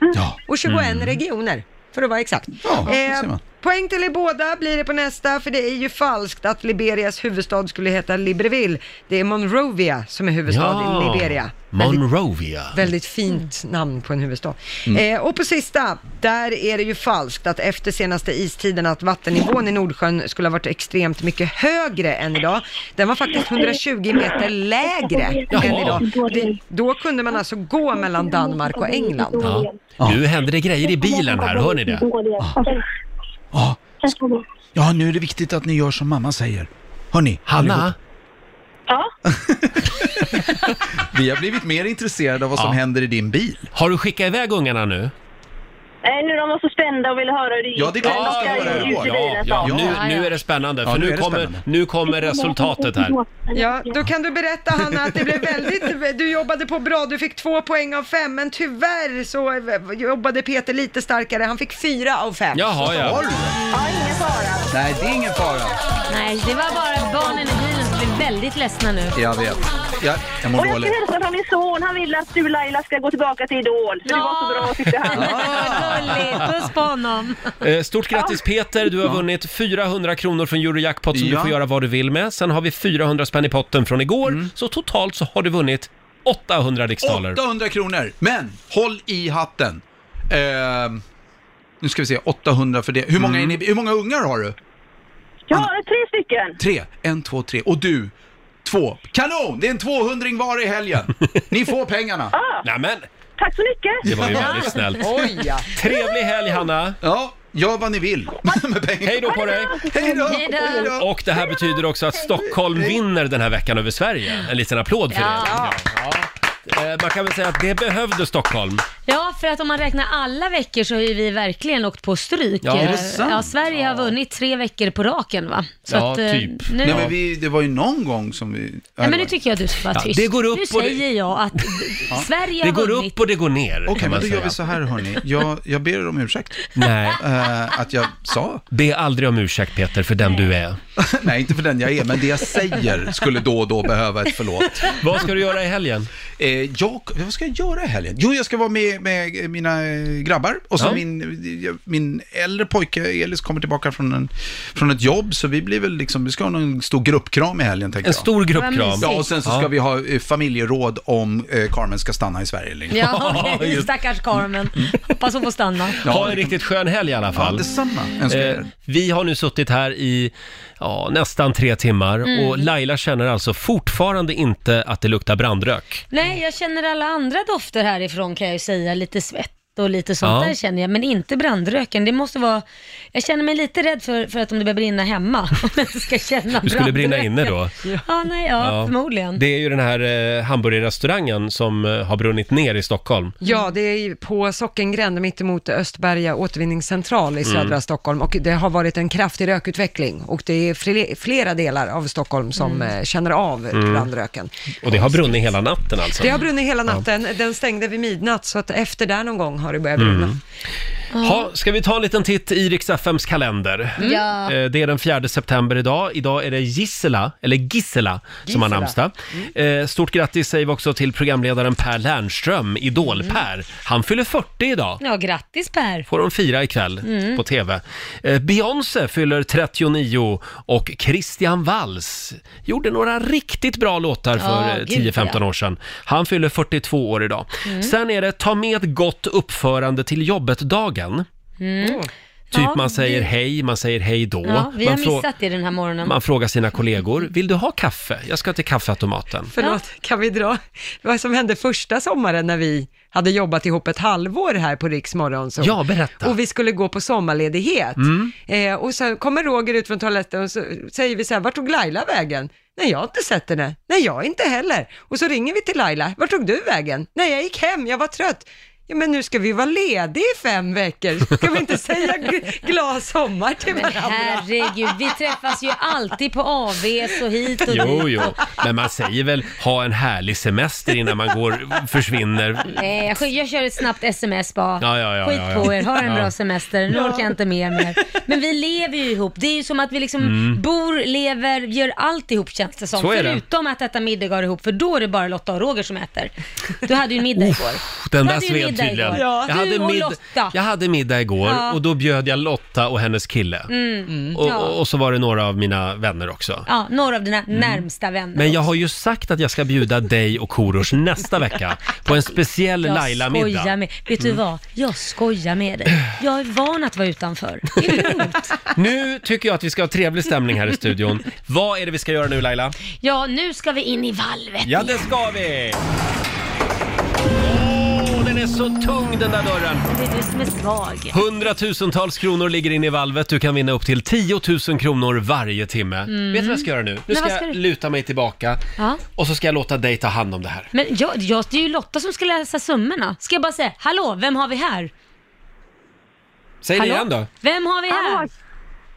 S2: och 21
S10: Mm.
S2: regioner, för att vara exakt. Eh,
S10: ser man.
S2: poäng till er båda blir det på nästa, för det är ju falskt att Liberias huvudstad skulle heta Libreville. Det är Monrovia som är huvudstad i Liberia.
S1: Monrovia.
S2: Väldigt fint namn på en huvudstad.
S1: Mm.
S2: Eh, och på sista, där är det ju falskt att efter senaste istiden att vattennivån i Nordsjön skulle ha varit extremt mycket högre än idag. Den var faktiskt 120 meter lägre
S1: Jaha.
S2: än idag. Det, då kunde man alltså gå mellan Danmark och England.
S1: Ja. Nu händer det grejer i bilen här, hör ni det?
S10: ja, nu är det viktigt att ni gör som mamma säger. Hörni,
S1: Hanna?
S10: Vi har blivit mer intresserade av vad som
S1: Ja.
S10: händer i din bil.
S1: Har du skickat iväg ungarna nu?
S17: Nej, Eh, nu de var så spända och ville höra hur det gick.
S1: Ja, det är klart
S17: Men
S1: de
S17: de
S1: ska
S17: ska
S1: höra hur det
S17: ju ut
S1: går.
S17: i bilen, sa
S1: Ja,
S17: de.
S1: nu, nu är det spännande, för
S10: Ja, nu
S1: nu,
S10: är det
S1: kommer,
S10: spännande.
S1: nu kommer resultatet här.
S2: Ja, då kan du berätta Hanna att det blev väldigt, du jobbade på bra, du fick två poäng av fem, men tyvärr så jobbade Peter lite starkare, han fick fyra av fem.
S1: Jaha, ja.
S10: Nej, det är ingen fara.
S4: Nej, det var bara barnen i bilen som blev väldigt ledsna nu.
S10: Jag vet. Jag, jag mår
S17: Och jag
S10: dåligt.
S17: ska hälsa från min son. Han vill att du Laila ska gå tillbaka till Idol. För du var så bra tyckte han.
S4: Gulligt, puss på honom.
S1: Eh, Stort grattis Peter, du har vunnit 400 kronor från Eurojackpot som du
S10: Ja.
S1: får göra vad du vill med. Sen har vi 400 spänn i potten från igår,
S10: Mm.
S1: så totalt så har du vunnit 800 riksdaler.
S10: 800 kronor, men håll i hatten. Ehm,
S1: Mm.
S10: Eh, nu ska vi se, 800 för det. Hur många, är ni, hur många ungar har du?
S17: Jag har tre stycken.
S10: Tre, en, två, tre. Och du, två. Kanon! Det är en 200 var i helgen. Ni får pengarna.
S1: Nämen!
S17: Tack så mycket.
S1: Det var ju väldigt snällt.
S10: Oj, ja.
S1: Trevlig helg Hanna!
S10: Ja, gör vad ni vill med pengarna.
S1: Hej då på dig!
S10: Hej då!
S1: Hej Och det här betyder också att Stockholm vinner den här veckan över Sverige. En liten applåd för det.
S4: Ja.
S1: Eh, Man kan väl säga att det behövde Stockholm.
S4: Ja, för att om man räknar alla veckor så har ju vi verkligen åkt på stryk.
S10: Ja, är det
S4: Eh,
S10: sant?
S4: Ja, Sverige har vunnit tre veckor på raken va? Så att, eh, Nu...
S10: Nej, men vi, det var ju någon gång som vi...
S4: Nej, men nu tycker jag du ska vara
S10: Ja,
S4: tyst.
S10: det går upp
S4: nu
S10: och det-
S4: säger jag att Sverige
S10: Det
S4: har
S10: går
S4: vunnit.
S1: Upp och det går ner.
S10: Okej,
S1: kan
S10: men
S1: man
S10: då gör
S1: säga.
S10: vi så här hörni. Jag, jag ber om ursäkt.
S1: Nej.
S10: Eh, att jag sa.
S1: Be aldrig om ursäkt Peter för den du är.
S10: Nej, inte för den jag är, men det jag säger skulle då och då behöva ett förlåt.
S1: Vad ska du göra i helgen?
S10: Eh, jag, vad ska jag göra i helgen? Jo, jag ska vara med, med mina eh, grabbar och så
S1: Ja.
S10: min, min äldre pojke Elis kommer tillbaka från, en, från ett jobb, så vi blir väl liksom, vi ska ha någon stor gruppkram i helgen tänker
S1: En
S10: jag.
S1: stor gruppkram. Vad mysigt.
S10: Ja, och sen så
S1: Ja.
S10: ska vi ha eh, familjeråd om eh, Carmen ska stanna i Sverige eller inte.
S4: Ja, okej. stackars Carmen. Hoppas hon får stanna.
S1: Ha en riktigt skön helg i alla fall. Eh,
S10: Ja, detsamma önskar jag er.
S1: vi har nu suttit här i ja, nästan tre timmar
S4: Mm.
S1: och Laila känner alltså fortfarande inte att det luktar brandrök.
S4: Nej, jag känner alla andra dofter härifrån kan jag ju säga. Lite svett och lite sånt
S1: Ja.
S4: där känner jag, men inte brandröken. Det måste vara... Jag känner mig lite rädd för, för att om det börjar brinna hemma, om jag ska känna
S1: Du skulle brinna
S4: brandröken.
S1: inne då.
S4: Ja, nej, ja, förmodligen.
S1: Det är ju den här eh, hamburgerrestaurangen som eh, har brunnit ner i Stockholm.
S2: Ja, det är ju på Sockengränd mittemot Östberga återvinningscentral i södra
S1: Mm.
S2: Stockholm och det har varit en kraftig rökutveckling och det är fle- flera delar av Stockholm som eh, känner av
S1: Mm.
S2: brandröken.
S1: Och det har brunnit hela natten alltså.
S2: Det har brunnit hela
S1: Ja.
S2: natten, den stängde vid midnatt så att efter där någon gång har det börjat brinna.
S1: Mm. Ha, ska vi ta en liten titt i Rix FMs kalender?
S2: Mm. Ja.
S1: Eh, Det är den 4 september idag. Idag är det Gisela, eller Gisela, som
S13: Gisela.
S1: har
S13: Mm.
S1: namnsdag. Eh, Stort grattis säger vi också till programledaren Per Lernström,
S13: Mm.
S1: Idol-Per. Han fyller 40 idag.
S4: Ja, grattis Per.
S1: Får de fira ikväll
S4: Mm.
S1: på TV. Eh, Beyoncé fyller 39 och Christian Walls gjorde några riktigt bra låtar
S13: Ja,
S1: för eh,
S13: gud,
S1: 10-15
S13: ja. Mm.
S1: år sedan. Han fyller 42 år idag. Sen är det ta med gott uppförande till jobbet-dagen.
S4: Mm.
S1: Typ
S4: Ja,
S1: man säger
S4: vi-
S1: hej, man säger hej då.
S4: Ja, vi har
S1: man, frå-
S4: missat det den här morgonen.
S1: man frågar sina kollegor, vill du ha kaffe? Jag ska till kaffeautomaten.
S2: Förlåt, kan vi dra vad som hände första sommaren när vi hade jobbat ihop ett halvår här på Riks Morgonzoo?
S1: Ja, berätta.
S2: Och vi skulle gå på sommarledighet.
S1: Mm.
S2: Eh, och så kommer Roger ut från toaletten och så säger vi så här, vart tog Laila vägen? Nej, jag har inte sett henne. Nej, jag inte heller. Och så ringer vi till Laila, vart tog du vägen? Nej, jag gick hem, jag var trött. Ja, men nu ska vi vara lediga i fem veckor. Ska vi inte säga gl- glad sommar till
S4: Men
S2: varandra?
S4: herregud, vi träffas ju alltid på AVs och hit och
S1: Jo,
S4: dit.
S1: jo, men man säger väl ha en härlig semester innan man går, försvinner.
S4: Nej, jag, sk- jag kör ett snabbt sms bara.
S1: Ja, ja, ja,
S4: Skit
S1: ja, ja.
S4: på er, ha en
S1: Ja.
S4: bra semester, nu
S1: Ja.
S4: orkar jag inte med mer. Men vi lever ju ihop, det är ju som att vi liksom
S1: Mm.
S4: bor, lever, gör allt ihop känns det som.
S1: Så är det.
S4: Förutom att äta middagar ihop, för då är det bara Lotta och Roger som äter. Du hade ju en
S1: Oh.
S4: middag igår.
S1: Den
S4: Du
S1: där
S4: hade ju
S1: sved
S4: middag
S1: tydligen.
S4: igår. Du
S1: Jag, hade
S4: och
S1: mid-
S4: Lotta.
S1: jag hade middag igår
S4: Ja.
S1: och då bjöd jag Lotta och hennes kille.
S4: Mm.
S1: Och,
S4: Ja.
S1: och så var det några av mina vänner också.
S4: ja, några av dina närmsta vänner.
S1: Mm. Men jag har ju sagt att jag ska bjuda dig och Korosh nästa vecka på en speciell
S4: Jag skojar
S1: Laila-middag.
S4: med, vet du
S1: Mm.
S4: vad? Jag skojar med dig. Jag är van att vara utanför. Det är lugnt.
S1: Nu tycker jag att vi ska ha trevlig stämning här i studion. Vad är det vi ska göra nu Laila?
S4: Ja, nu ska vi in i valvet
S1: Ja,
S4: igen.
S1: det ska vi! Åh, den är så tung den där dörren.
S4: Det är du som är svag.
S1: Hundratusentals kronor ligger inne i valvet. Du kan vinna upp till 10 000 kronor varje timme.
S4: Mm.
S1: Vet du vad jag ska göra nu? Nu
S4: Men
S1: ska,
S4: vad ska
S1: jag
S4: du-
S1: luta mig tillbaka
S4: Ja.
S1: och så ska jag låta dig ta hand om det här.
S4: Men jag, jag, det är ju Lotta som ska läsa summorna. Ska jag bara säga, hallå, vem har vi här?
S1: Säg
S4: Hallå?
S1: det igen då.
S4: Vem har vi här?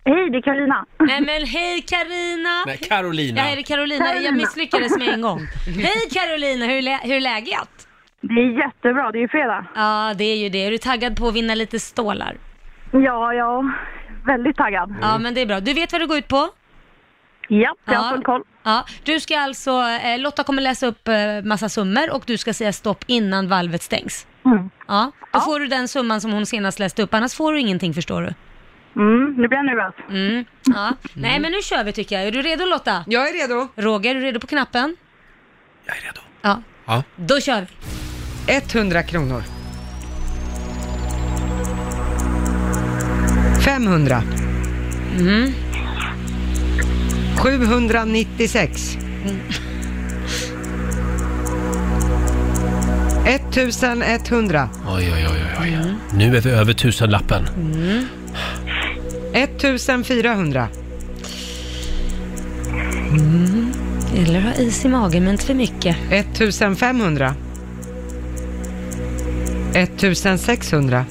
S17: Hej, det är Karina.
S4: Nej men hej Karina!
S1: Nej, Carolina.
S4: Ja, är det Carolina? Jag
S17: Carolina.
S4: misslyckades med en gång. Hej Carolina, hur, är lä- hur är läget?
S17: Det är jättebra, det är ju fredag.
S4: Ja, det är ju det. Är du taggad på att vinna lite stålar?
S17: Ja, ja. Väldigt taggad.
S4: Ja,
S1: Mm.
S4: men det är bra. Du vet vad du går ut på?
S17: Ja, jag har full koll.
S4: Ja, du ska alltså, eh, Lotta kommer läsa upp eh, massa summor och du ska säga stopp innan valvet stängs. Ja, då får du den summan som hon senast läste upp, annars får du ingenting förstår du.
S17: Mm, nu blir jag nervös.
S4: Mm, ja. Nej men nu kör vi tycker jag. Är du redo Lotta?
S2: Jag är redo.
S4: Roger, är du redo på knappen? Jag är redo.
S1: Ja.
S4: Ja, då kör vi.
S2: 100 kronor. 500.
S4: Mm.
S2: 796. 1100.
S1: Oj, oj, oj, oj.
S4: Mm.
S1: Nu är vi över tusenlappen.
S2: 1400.
S4: Mm. Det gäller att ha is i magen, men inte för mycket.
S2: 1500. 1600.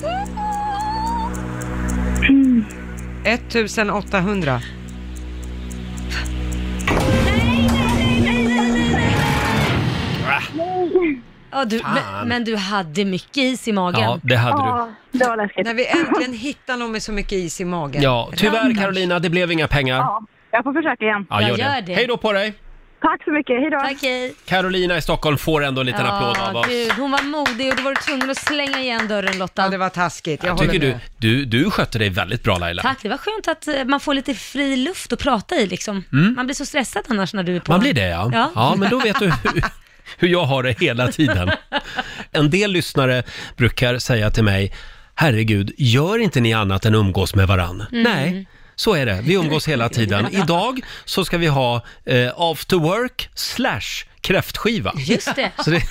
S2: 1800.
S4: Ja, du, men, men du hade mycket is i magen.
S1: Ja, det hade du. Ja,
S2: du. När vi äntligen hittar någon med så mycket is i magen.
S1: Ja, tyvärr
S2: Rammers.
S1: Carolina, det blev inga pengar.
S2: Ja.
S17: Jag får försöka igen.
S1: Ja, gör det. Hej då på dig!
S17: Tack så mycket, hej då.
S4: Tack, hej.
S1: Carolina i Stockholm får ändå en liten applåd av oss.
S4: Gud, hon var modig och då var du tvungen att slänga igen dörren Lotta. Ja, det
S2: var taskigt.
S1: Jag tycker du, du, du skötte dig väldigt bra Laila.
S4: Tack, det var skönt att eh, man får lite fri luft att prata i liksom.
S1: Mm.
S4: Man blir så stressad annars när du är på.
S1: Man blir det ja. ja. men då vet du hur, hur jag har det hela tiden. En del lyssnare brukar säga till mig, herregud, gör inte ni annat än umgås med varann?
S13: Mm.
S1: Nej. Så är det, vi umgås hela tiden. Idag så ska vi ha eh, after work slash kräftskiva.
S4: Just det.
S1: Så det,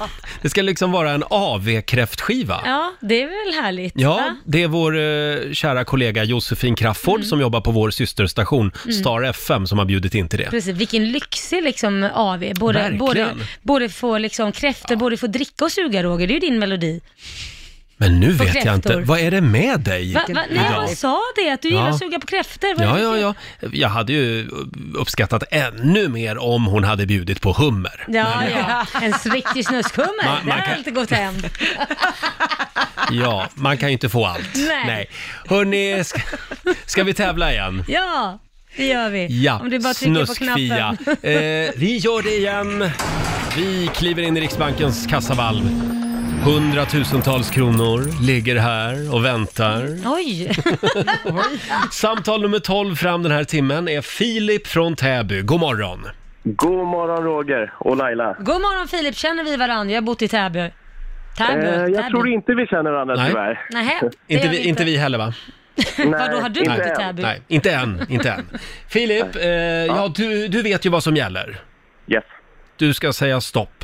S1: det ska liksom vara en AV-kräftskiva.
S4: Ja, det är väl härligt?
S1: Ja,
S4: va?
S1: det är vår eh, kära kollega Josefin Crafoord
S4: Mm.
S1: som jobbar på vår systerstation
S4: Mm.
S1: Star FM som har bjudit in till det.
S4: Precis, vilken lyxig liksom AW. Både,
S1: Verkligen.
S4: både, både få liksom kräftor, både få dricka och suga Roger, det är ju din melodi.
S1: Men nu
S4: På
S1: vet jag
S4: kräftor.
S1: inte, vad är det med dig
S4: Va, va, nej,
S1: idag?
S4: jag sa det, att du gillar
S1: Ja.
S4: att suga på kräftor. Vad är
S1: Ja,
S4: det
S1: ja,
S4: för-
S1: ja. Jag hade ju uppskattat ännu mer om hon hade bjudit på hummer.
S4: Ja, ja. En riktig snuskhummer,
S1: Man-
S4: det
S1: man
S4: har
S1: kan-
S4: inte gått hem.
S1: Ja, man kan ju inte få allt.
S4: Nej.
S1: Hörni, ska, ska vi tävla igen?
S4: Ja, det gör vi.
S1: Ja,
S4: Om du bara trycker på
S1: snuskfia.
S4: knappen.
S1: Eh, vi gör det igen. Vi kliver in i Riksbankens kassavalv. Hundratusentals kronor ligger här och väntar.
S4: Oj!
S1: Samtal nummer 12 fram den här timmen är Filip från Täby. God morgon!
S18: God morgon Roger och Laila.
S4: God morgon Filip, känner vi varandra? Jag har bott i Täby. Täby?
S18: Eh, jag
S4: Täby.
S18: tror inte vi känner varandra
S1: Nej.
S18: tyvärr.
S4: Nähä, det
S1: Inte
S4: gör
S1: vi, inte vi heller va?
S4: Vadå, har du
S1: Nej,
S4: bott i Täby?
S1: Nej, inte än. Inte än. Filip, eh, ja, du, du vet ju vad som gäller.
S18: Yes.
S1: Du ska säga stopp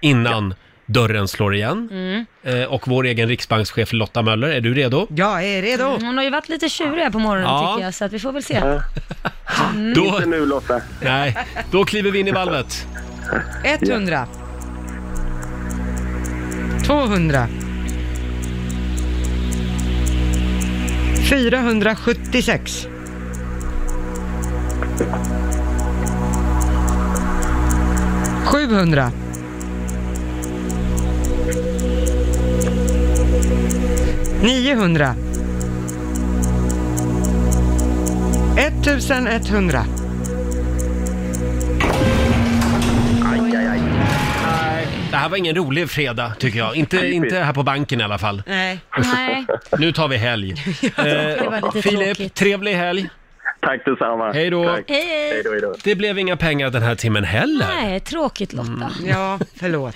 S1: innan dörren slår igen.
S4: Mm.
S1: Eh, och vår egen riksbankschef Lotta Möller, är du redo?
S2: Jag är redo.
S4: Mm, hon har ju varit lite tjurig här på morgonen
S1: Ja.
S4: tycker jag, så att vi får väl se. Mm.
S1: Inte
S18: nu Lotta.
S1: Nej, då kliver vi in i valvet.
S2: 100. 200. 476. 700. 900. 1100.
S18: Aj, aj, aj.
S1: Det här var ingen rolig fredag, tycker jag. Inte, inte här på banken i alla fall.
S2: Nej.
S4: Nej.
S1: Nu tar vi helg. Eh,
S4: var lite
S1: Filip,
S4: tråkigt.
S1: trevlig helg!
S18: Tack detsamma.
S1: Hej då!
S18: Tack.
S4: Hej, hej.
S18: Hej då, hej då.
S1: Det blev inga pengar den här timmen heller.
S4: Nej, tråkigt Lotta.
S1: Mm.
S2: Ja, förlåt.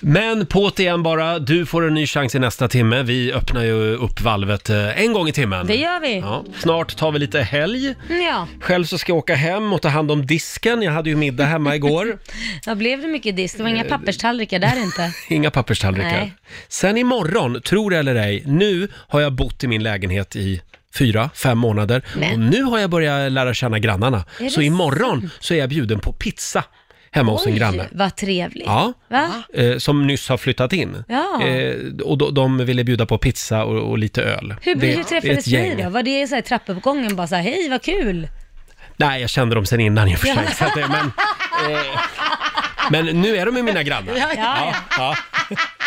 S1: Men på't igen bara, du får en ny chans i nästa timme. Vi öppnar ju upp valvet eh, en gång i timmen.
S4: Det gör vi.
S1: Ja, snart tar vi lite helg.
S4: Ja,
S1: Själv så ska jag åka hem och ta hand om disken. Jag hade ju middag hemma igår.
S4: då blev det mycket disk. Det var
S1: Eh,
S4: inga papperstallrikar där inte.
S1: Inga papperstallrikar.
S4: Nej.
S1: Sen imorgon, tror det eller ej, nu har jag bott i min lägenhet i fyra, fem månader.
S4: Nej.
S1: Och nu har jag börjat lära känna grannarna.
S4: Är det
S1: Så imorgon så är jag bjuden på pizza hemma hos en granne.
S4: vad trevligt.
S1: Ja.
S4: Va?
S1: eh, som nyss har flyttat in.
S4: Ja.
S1: Eh, och de, de ville bjuda på pizza och, och lite öl.
S4: Hur,
S1: Det-
S4: hur
S1: det är ett
S4: träffades
S1: gäng.
S4: ni då? Var det så här i trappuppgången bara så här, hej vad kul?
S1: Nej, jag kände dem sen innan i och för sig.
S4: Ja.
S1: Så att det, men, eh, men nu är de ju mina grannar.
S4: Ja, ja.
S1: ja.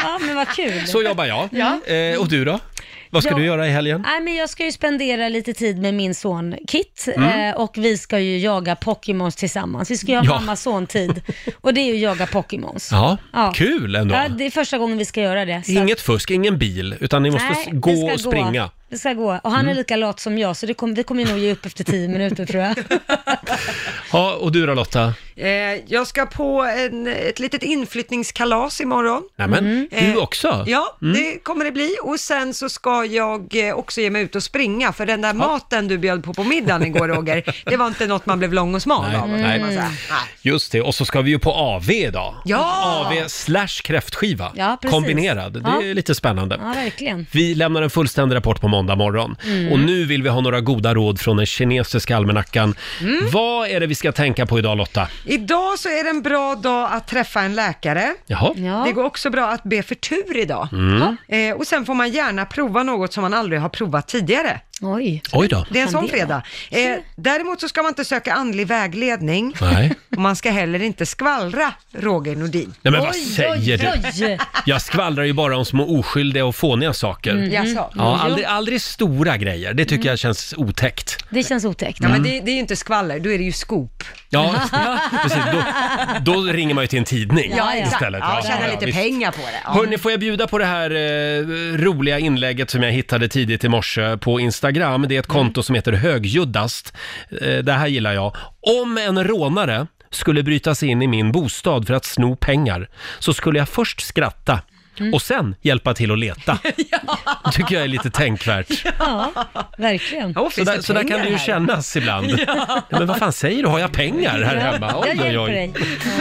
S4: Ja, men vad kul.
S1: Så jobbar jag.
S4: Ja.
S1: Eh, och du då? Vad ska
S4: Ja.
S1: du göra i helgen?
S4: Nej, men jag ska ju spendera lite tid med min son Kit
S1: Mm.
S4: eh, och vi ska ju jaga Pokémons tillsammans. Vi ska ju ha
S1: Ja.
S4: mamma-son-tid och det är ju jaga Pokémons.
S1: Ja, kul ändå.
S4: Ja, det är första gången vi ska göra det. så att-
S1: Inget fusk, ingen bil, utan ni måste
S4: Alltså- Nej,
S1: gå
S4: det ska
S1: och springa.
S4: Det ska gå. Och han
S1: Mm.
S4: är lika lat som jag, så det kom, vi kommer nog ge upp efter tio minuter tror jag.
S1: Ja, och du då Lotta?
S2: Eh, jag ska på en, ett litet inflyttningskalas imorgon.
S1: Nämen,
S4: Mm. Eh,
S1: du också?
S2: Ja,
S1: Mm.
S2: det kommer det bli. Och sen så ska jag eh, också ge mig ut och springa, för den där maten du bjöd på på middagen igår Roger, det var inte något man blev lång och smal av. kan
S1: nej. Mm.
S2: man säga. Nej.
S1: Just det, och så ska vi ju på AV idag.
S2: Ja!
S1: AV slash kräftskiva.
S4: Ja, precis.
S1: Kombinerad. Det
S4: Ja.
S1: är lite spännande.
S4: Ja, verkligen.
S1: Vi lämnar en fullständig rapport på måndag morgon.
S4: Mm.
S1: Och nu vill vi ha några goda råd från den kinesiska almanackan.
S4: Mm.
S1: Vad är det vi ska tänka på idag Lotta?
S2: Idag så är det en bra dag att träffa en läkare.
S1: Jaha.
S2: Det går också bra att be för tur idag.
S1: Mm.
S2: Eh, och sen får man gärna prova något som man aldrig har provat tidigare.
S4: Oj.
S1: Oj då.
S2: Det är en
S1: Kan
S2: sån
S1: det
S2: fredag. Eh, däremot så ska man inte söka andlig vägledning.
S1: Nej.
S2: Och man ska heller inte skvallra, Roger Nordin.
S1: Nej men vad säger du? Jag skvallrar ju bara om små oskyldiga och fåniga saker.
S4: Mm.
S2: Jaså.
S1: Ja, aldrig, aldrig stora grejer. Det tycker jag känns otäckt.
S4: Det känns otäckt.
S1: Ja, men Mm.
S2: det är ju inte skvaller, då är det ju skop.
S1: Ja, precis. Då, då ringer man ju till en tidning
S2: Ja, ja.
S1: istället.
S2: Ja, tjäna lite
S1: visst.
S2: pengar på det. Ja.
S1: Hörni, får jag bjuda på det här eh, roliga inlägget som jag hittade tidigt i morse på Instagram. Det är ett
S4: Mm.
S1: konto som heter Högljuddast. Eh, det här gillar jag. Om en rånare skulle bryta sig in i min bostad för att sno pengar så skulle jag först skratta
S4: Mm.
S1: och sen hjälpa till att leta. Det tycker jag är lite tänkvärt.
S4: Ja, verkligen.
S1: Så där, så där kan det ju kännas ibland.
S4: Ja.
S1: Men vad fan säger du? Har jag pengar här hemma?
S4: Jag hjälper dig.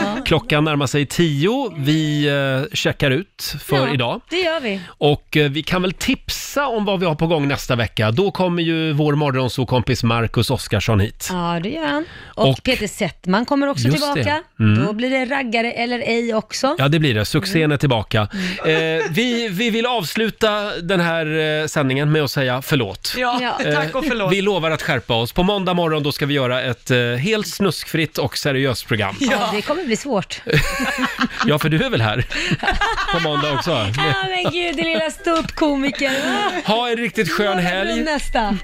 S4: Ja.
S1: Klockan närmar sig tio. Vi eh, checkar ut för
S4: Ja,
S1: idag.
S4: Det gör vi.
S1: Och eh, vi kan väl tipsa om vad vi har på gång nästa vecka. Då kommer ju vår morgonsokompis Marcus Oskarsson hit.
S4: Ja, det gör han. Och,
S1: Och-
S4: Peter Settman kommer också
S1: Just
S4: tillbaka.
S1: det. Mm.
S4: Då blir det raggare eller ej också.
S1: Ja, det blir det. Succén är tillbaka.
S2: Mm.
S1: Eh, vi, vi vill avsluta den här eh, sändningen med att säga förlåt. Eh,
S2: Ja, tack och förlåt.
S1: Vi lovar att skärpa oss. På måndag morgon då ska vi göra ett eh, helt snuskfritt och seriöst program.
S4: Ja. det kommer bli svårt.
S1: Ja, för du är väl här på måndag också?
S4: Ja, men gud, din lilla ståuppkomiker.
S1: Ha en riktigt skön helg.
S4: Nästa.